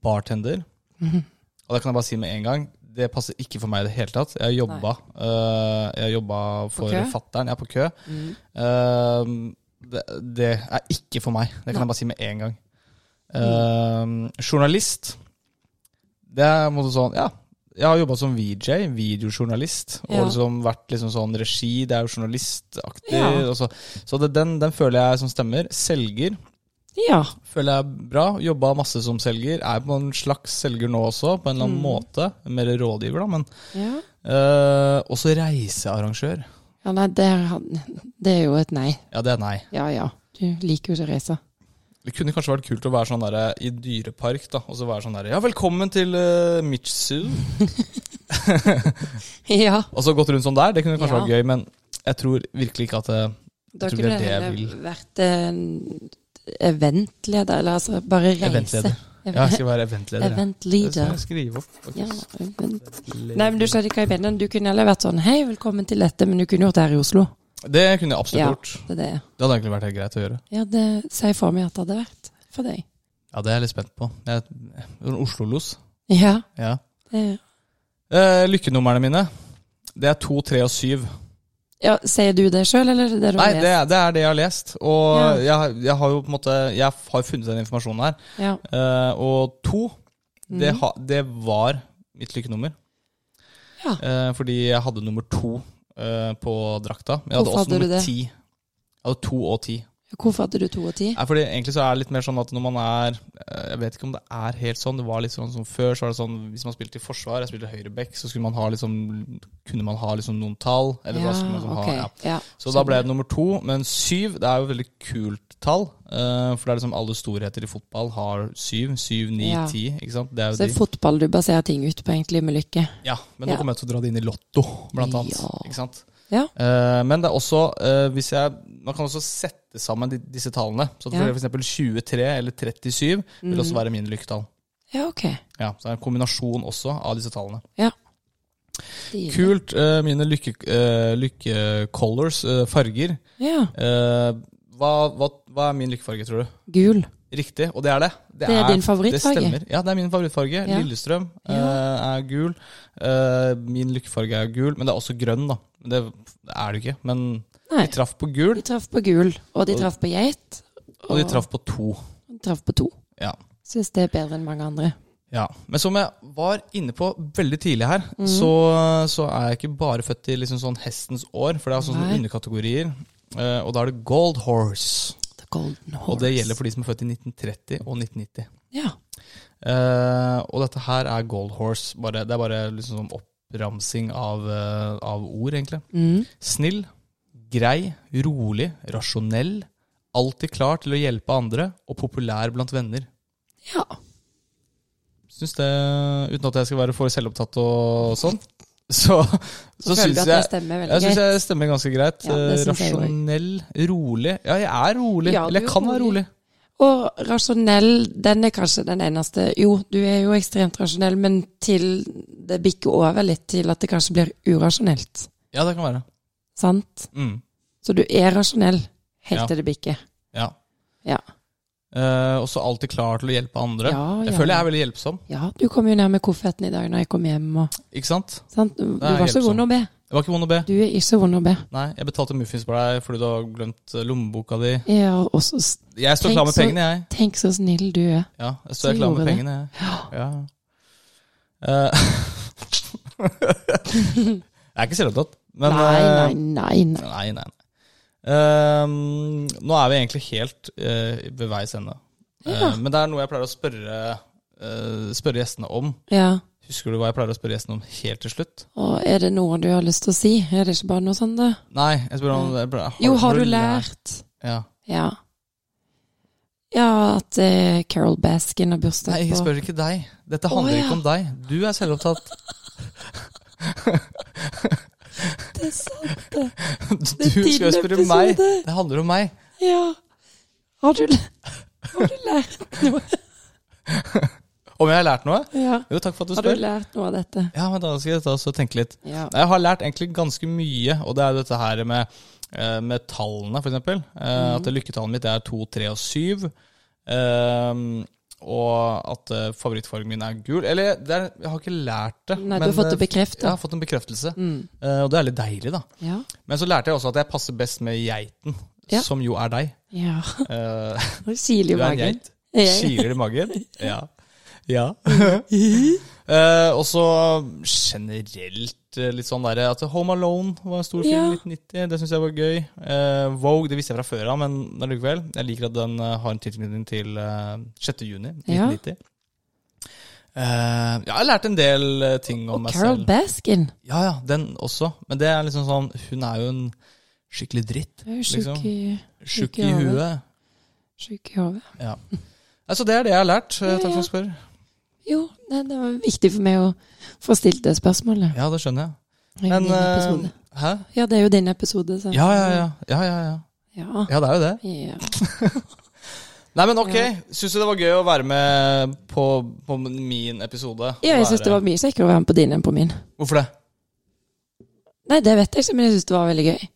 Speaker 1: Bartender
Speaker 2: Mhm.
Speaker 1: Og det kan jeg bare si med en gang Det passer ikke for meg i det hele tatt Jeg har jobba, eh, jeg har jobba for
Speaker 2: kø? Mm.
Speaker 1: fatteren Jeg er på kø Eh, det, det er ikke for meg Det kan jeg bare si med en gang
Speaker 2: Mm.
Speaker 1: Eh, Journalist Det er på en måte sånn, ja jeg har jobbet som VJ, videojournalist,
Speaker 2: Ja.
Speaker 1: og liksom vært liksom sånn regi, det er jo journalistaktig,
Speaker 2: Ja.
Speaker 1: og så altså, så det, den, den føler jeg som stemmer. Selger
Speaker 2: Ja.
Speaker 1: føler jeg er bra. Jobba masse som selger. Er på en slags selger nå også, på en
Speaker 2: Mm.
Speaker 1: eller annen måte. Mer rådgiver, da, men
Speaker 2: ja.
Speaker 1: eh, Også reisearrangør.
Speaker 2: Ja, nei, det er, han- det er jo et nei.
Speaker 1: Ja, det er nei.
Speaker 2: Ja, ja. Du liker jo ikke å reise.
Speaker 1: Det kunne kanskje vært kult å være sånn derre i dyrepark, da. Og så være sånn derre Ja, velkommen til uh, Mitsu.
Speaker 2: Ja.
Speaker 1: Og så gått rundt sånn der. Det kunne kanskje
Speaker 2: Ja.
Speaker 1: vært gøy, men jeg tror virkelig ikke at eh, det
Speaker 2: Da
Speaker 1: Jeg tror det er
Speaker 2: kunne det
Speaker 1: det jeg
Speaker 2: heller vært en eventleder, eller altså bare reise.
Speaker 1: Eventleder. Ja, jeg skal være eventleder. jeg. Det skal
Speaker 2: Eventleader.
Speaker 1: jeg skrive opp. faktisk.
Speaker 2: Ja, event. Nei, men du skjønner ikke hva jeg mener. Du kunne heller vært sånn Hei, velkommen til dette, men du kunne gjort det her i Oslo.
Speaker 1: Det kunne jeg absolutt
Speaker 2: Ja,
Speaker 1: gjort.
Speaker 2: det er det.
Speaker 1: Det hadde egentlig vært helt greit å gjøre.
Speaker 2: Ja, det sier for meg at det hadde vært for deg.
Speaker 1: Ja, det er jeg litt spent på. Jeg- en Oslo-los.
Speaker 2: Ja.
Speaker 1: Ja.
Speaker 2: Det,
Speaker 1: Eh, lykkenumrene mine, det er to, tre og syv.
Speaker 2: ja sier du det sjøl, eller er det det du
Speaker 1: Nei,
Speaker 2: har
Speaker 1: det
Speaker 2: lest?
Speaker 1: er, det er det jeg har lest. Og jeg, jeg har jo på en måte Jeg har funnet den informasjonen her.
Speaker 2: Ja.
Speaker 1: Eh, og to, det,
Speaker 2: Mm.
Speaker 1: ha, det var mitt lykkenummer.
Speaker 2: Ja.
Speaker 1: Eh, fordi jeg hadde nummer to eh, på drakta. Men jeg hadde
Speaker 2: Hvorfor
Speaker 1: også
Speaker 2: hadde du
Speaker 1: nummer
Speaker 2: det?
Speaker 1: ti. Jeg hadde to og ti.
Speaker 2: Hvorfor hadde du to og ti?
Speaker 1: Nei, fordi egentlig så er det litt mer sånn at når man er eh, Jeg vet ikke om det er helt sånn. Det var litt sånn som før, så var det sånn hvis man spilte i forsvar, jeg spilte høyreback, så skulle man ha liksom Kunne man ha liksom noen tall? Eller hva skulle man liksom ha?
Speaker 2: ok.
Speaker 1: Ja.
Speaker 2: Ja.
Speaker 1: Så da ble det nummer to. Men syv, det er jo et veldig kult tall. eh, for det er liksom alle storheter i fotball har syv. Syv, ni,
Speaker 2: Ja.
Speaker 1: ti. Ikke sant? Det er
Speaker 2: Så det
Speaker 1: jo de.
Speaker 2: er fotball du baserer ting ut på, egentlig, med lykke.
Speaker 1: Ja, men nå
Speaker 2: Ja.
Speaker 1: kommer jeg til å dra det inn i Lotto, blant annet.
Speaker 2: Ja.
Speaker 1: Ikke sant?
Speaker 2: Ja.
Speaker 1: Eh, men det er også eh, hvis jeg, Man kan også sette sammen de, disse tallene. Så
Speaker 2: Ja.
Speaker 1: for eksempel 23 eller 37 vil også være mine lykketall.
Speaker 2: Mm. Ja, ok.
Speaker 1: Ja, så det er en kombinasjon også av disse tallene.
Speaker 2: Ja. Stilig.
Speaker 1: Kult. eh, mine lykke, eh, lykkecolors, eh, farger.
Speaker 2: Ja.
Speaker 1: Eh, hva, hva, hva er min lykkefarge, tror du?
Speaker 2: Gul.
Speaker 1: Riktig, og det er det.
Speaker 2: Det er din favorittfarge.
Speaker 1: Det stemmer. Ja, det er min favorittfarge.
Speaker 2: Ja.
Speaker 1: Lillestrøm eh,
Speaker 2: Ja.
Speaker 1: er gul. Eh, min lykkefarge er gul, men det er også grønn, da. Det er det jo ikke, men
Speaker 2: Nei.
Speaker 1: vi traff på gul.
Speaker 2: De traff på gul, og de
Speaker 1: Og-
Speaker 2: traff på geit.
Speaker 1: Og de traff på to.
Speaker 2: de traff på to.
Speaker 1: Ja.
Speaker 2: Syns det er bedre enn mange andre.
Speaker 1: ja. Men som jeg var inne på veldig tidlig her,
Speaker 2: Mhm.
Speaker 1: så, så er jeg ikke bare født i liksom sånn hestens år, for det er sånne
Speaker 2: Nei.
Speaker 1: underkategorier. Eh, og da er det gold horse.
Speaker 2: The Golden Horse.
Speaker 1: Og det gjelder for de som er født i 1930 og 1990.
Speaker 2: Ja.
Speaker 1: Eh, og dette her er gold horse. Bare, det er bare liksom sånn oppramsing av, eh, av ord, egentlig.
Speaker 2: Mm.
Speaker 1: Snill, grei, rolig, rasjonell. Alltid klar til å hjelpe andre, og populær blant venner.
Speaker 2: ja.
Speaker 1: syns det, uten at jeg skal være for selvopptatt og sånn, så, så,
Speaker 2: føler du
Speaker 1: syns
Speaker 2: at det
Speaker 1: jeg
Speaker 2: stemmer veldig
Speaker 1: jeg syns
Speaker 2: greit.
Speaker 1: jeg stemmer ganske greit.
Speaker 2: Ja, det
Speaker 1: Eh,
Speaker 2: syns jeg
Speaker 1: Rasjonell, rolig. Ja, jeg er rolig.
Speaker 2: Ja,
Speaker 1: Eller
Speaker 2: du
Speaker 1: jeg
Speaker 2: er
Speaker 1: kan være
Speaker 2: rolig.
Speaker 1: rolig.
Speaker 2: Og rasjonell, den er kanskje den eneste Jo, du er jo ekstremt rasjonell, men til det bikker over litt til at det kanskje blir urasjonelt.
Speaker 1: Ja, det kan være.
Speaker 2: Sant?
Speaker 1: Mm.
Speaker 2: Så du er rasjonell helt
Speaker 1: Ja.
Speaker 2: til det bikker.
Speaker 1: Ja.
Speaker 2: Ja.
Speaker 1: Eh, også alltid klar til å hjelpe andre.
Speaker 2: Ja,
Speaker 1: Jeg
Speaker 2: ja.
Speaker 1: føler jeg er veldig hjelpsom.
Speaker 2: ja, du kom jo ned med kofferten i dag når jeg kom hjem. Og,
Speaker 1: Ikke sant?
Speaker 2: sant? Du
Speaker 1: er
Speaker 2: var ikke
Speaker 1: hjelpsom.
Speaker 2: vond å be.
Speaker 1: Det var ikke vond å be.
Speaker 2: Du er ikke vond å be.
Speaker 1: Nei, jeg betalte muffins for deg fordi du har glemt eh, lommeboka di.
Speaker 2: Ja, og så s-
Speaker 1: Jeg står
Speaker 2: Tenk
Speaker 1: klar med
Speaker 2: så-
Speaker 1: pengene, jeg.
Speaker 2: Tenk så snill du er.
Speaker 1: Ja, jeg
Speaker 2: Så
Speaker 1: står klar med
Speaker 2: gjorde det.
Speaker 1: pengene, jeg. Ja. Eh, jeg er ikke selvopptatt, men
Speaker 2: nei,
Speaker 1: eh,
Speaker 2: nei, nei, nei.
Speaker 1: Nei, nei, nei. Ehm, nå er vi egentlig helt eh, ved veis ende. Eh, men det er noe jeg pleier å spørre, eh, spørre gjestene om.
Speaker 2: Ja.
Speaker 1: Husker du hva jeg pleier å spørre gjestene om helt til slutt?
Speaker 2: Og er det noe du har lyst til å si? Er det ikke bare noe sånn, sånt, det?
Speaker 1: Nei, jeg spør om jeg pleier-
Speaker 2: Mm. Jo, har du lært?
Speaker 1: Ja.
Speaker 2: Ja. Ja, at eh, Carol Baskin har
Speaker 1: Nei,
Speaker 2: bursdag
Speaker 1: jeg
Speaker 2: på
Speaker 1: spør ikke deg. Dette handler
Speaker 2: Å, ja.
Speaker 1: ikke om deg. Du er selvopptatt.
Speaker 2: Det er sant, det.
Speaker 1: Du
Speaker 2: Det
Speaker 1: skal
Speaker 2: er
Speaker 1: jo
Speaker 2: din
Speaker 1: spørre
Speaker 2: episode.
Speaker 1: meg. Det handler om meg.
Speaker 2: Ja. Har du, læ- har du lært noe?
Speaker 1: Om jeg har lært noe?
Speaker 2: Ja.
Speaker 1: Jo, takk for at du
Speaker 2: Har du
Speaker 1: spør.
Speaker 2: lært noe av dette?
Speaker 1: Ja, men da skal jeg ta og tenke litt.
Speaker 2: Ja.
Speaker 1: Jeg har lært egentlig ganske mye, og det er jo dette her med, eh, med tallene, for eksempel.
Speaker 2: Mhm.
Speaker 1: Eh, At lykketallet mitt er 2, 3 og 7. Ehm, og at eh, favorittfargen min er gul. Eller det er, jeg har ikke lært det.
Speaker 2: Nei, du har fått det
Speaker 1: eh,
Speaker 2: bekreftet.
Speaker 1: Jeg har fått en bekreftelse. Eh, og det er litt deilig, da.
Speaker 2: Mm. Ja.
Speaker 1: Men så lærte jeg også at jeg passer best med geiten,
Speaker 2: Ja.
Speaker 1: som jo er deg.
Speaker 2: ja.
Speaker 1: Eh,
Speaker 2: Det kiler i
Speaker 1: du er en
Speaker 2: magen.
Speaker 1: geit.
Speaker 2: Jeg-
Speaker 1: Kiler i magen. Ja. ja. Eh, og så generelt eh, litt sånn derre at Home Alone var en stor film
Speaker 2: Ja.
Speaker 1: i 1990. Det syns jeg var gøy. Eh, Vogue det visste jeg fra før av, men allikevel. Jeg liker at den eh, har en tilknytning til eh, 6. juni
Speaker 2: Ja.
Speaker 1: 1990. Eh, ja, jeg har lært en del eh, ting om
Speaker 2: Og
Speaker 1: meg
Speaker 2: Carol
Speaker 1: selv.
Speaker 2: Baskin.
Speaker 1: Ja, ja, Den også. Men det er liksom sånn Hun er jo en skikkelig dritt.
Speaker 2: Hun er jo
Speaker 1: Liksom.
Speaker 2: sjuk i,
Speaker 1: Sjuk
Speaker 2: i
Speaker 1: i
Speaker 2: hodet.
Speaker 1: huet.
Speaker 2: sjuk i hodet.
Speaker 1: Ja. Altså, det er det jeg har lært. eh,
Speaker 2: Ja,
Speaker 1: Takk for
Speaker 2: ja.
Speaker 1: at du spør.
Speaker 2: Jo, nei, det var viktig for meg å få stilt det spørsmålet.
Speaker 1: Ja, det skjønner jeg.
Speaker 2: Det er jo
Speaker 1: Men
Speaker 2: din
Speaker 1: eh,
Speaker 2: episode.
Speaker 1: Hæ?
Speaker 2: Ja, det er jo din episode. Så.
Speaker 1: Ja, ja, ja. ja, ja, ja.
Speaker 2: Ja.
Speaker 1: Ja, det er jo det.
Speaker 2: Ja.
Speaker 1: Nei, men ok. Syns du det var gøy å være med på, på min episode?
Speaker 2: ja, jeg
Speaker 1: Være-
Speaker 2: syns det var mye kjekkere å være med på din enn på min.
Speaker 1: Hvorfor det?
Speaker 2: Nei, det vet jeg ikke, men jeg syns det var veldig gøy.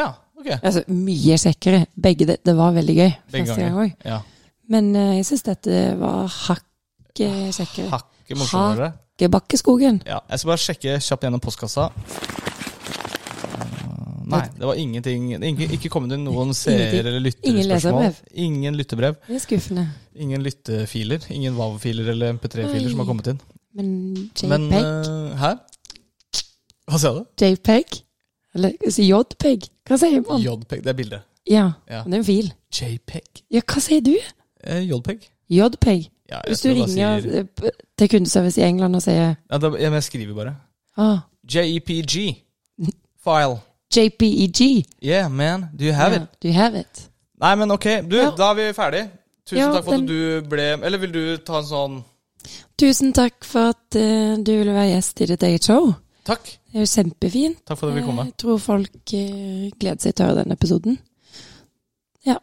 Speaker 1: Ja, ok.
Speaker 2: Altså, mye kjekkere. Begge det, det var veldig gøy.
Speaker 1: Begge
Speaker 2: Første
Speaker 1: ganger.
Speaker 2: gang òg.
Speaker 1: Ja.
Speaker 2: Men eh, jeg syns dette var hakket kjekkere.
Speaker 1: Hakket morsommere.
Speaker 2: Hakkebakkeskogen.
Speaker 1: Ja, jeg skal bare sjekke kjapt gjennom postkassa. Eh, Nei, det var ingenting Ikke, ikke kommet inn noen seer-
Speaker 2: Ingenting.
Speaker 1: eller
Speaker 2: Ingen
Speaker 1: lytterspørsmål.
Speaker 2: leserbrev.
Speaker 1: Ingen lyttebrev.
Speaker 2: Det er skuffende.
Speaker 1: Ingen lyttefiler. Ingen WAV-filer eller MP3-filer som har kommet inn.
Speaker 2: Men JPEG
Speaker 1: Men eh, Hæ? Hva sa du?
Speaker 2: JPEG? Eller jeg sier JPEG? Hva sier man?
Speaker 1: JPEG. E Det er bildet.
Speaker 2: Ja,
Speaker 1: Ja.
Speaker 2: det er en fil.
Speaker 1: JPEG?
Speaker 2: Ja, hva sier du?
Speaker 1: Eh, JPEG?
Speaker 2: JPEG.
Speaker 1: Ja, jeg
Speaker 2: Hvis du
Speaker 1: tror jeg bare
Speaker 2: ringer
Speaker 1: sier-
Speaker 2: eh, p- til kundeservice i England og sier
Speaker 1: ja, da, ja, men Jeg skriver bare.
Speaker 2: ah,
Speaker 1: JEPG. File.
Speaker 2: JPEG.
Speaker 1: Yeah, man. Do you have
Speaker 2: E Ja,
Speaker 1: it?
Speaker 2: Do you have it?
Speaker 1: Nei, men ok. Du,
Speaker 2: Ja.
Speaker 1: da er vi ferdig. Tusen
Speaker 2: Ja,
Speaker 1: takk for
Speaker 2: den-
Speaker 1: at du ble Eller vil du ta en sånn
Speaker 2: Tusen takk for at eh, du ville være gjest i ditt eget show.
Speaker 1: Takk.
Speaker 2: Det er jo kjempefint.
Speaker 1: Takk for at du vil komme.
Speaker 2: Jeg tror folk eh, gleder seg til å høre den episoden. Ja,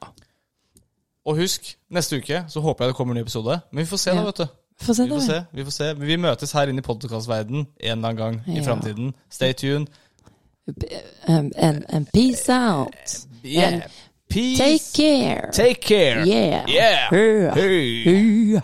Speaker 1: Og husk, neste uke så håper jeg det kommer en ny episode. Men vi får se,
Speaker 2: Ja.
Speaker 1: da, vet du.
Speaker 2: få se
Speaker 1: Vi
Speaker 2: det.
Speaker 1: får se. Vi får se. Vi møtes her inne i podkastverdenen en eller annen gang i
Speaker 2: Ja.
Speaker 1: framtiden. Stay tuned.
Speaker 2: Um, and, and peace out.
Speaker 1: Yeah. Peace.
Speaker 2: Take care.
Speaker 1: Take care.
Speaker 2: Yeah.
Speaker 1: Yeah.
Speaker 2: Hurra.
Speaker 1: Hey.
Speaker 2: Hurra.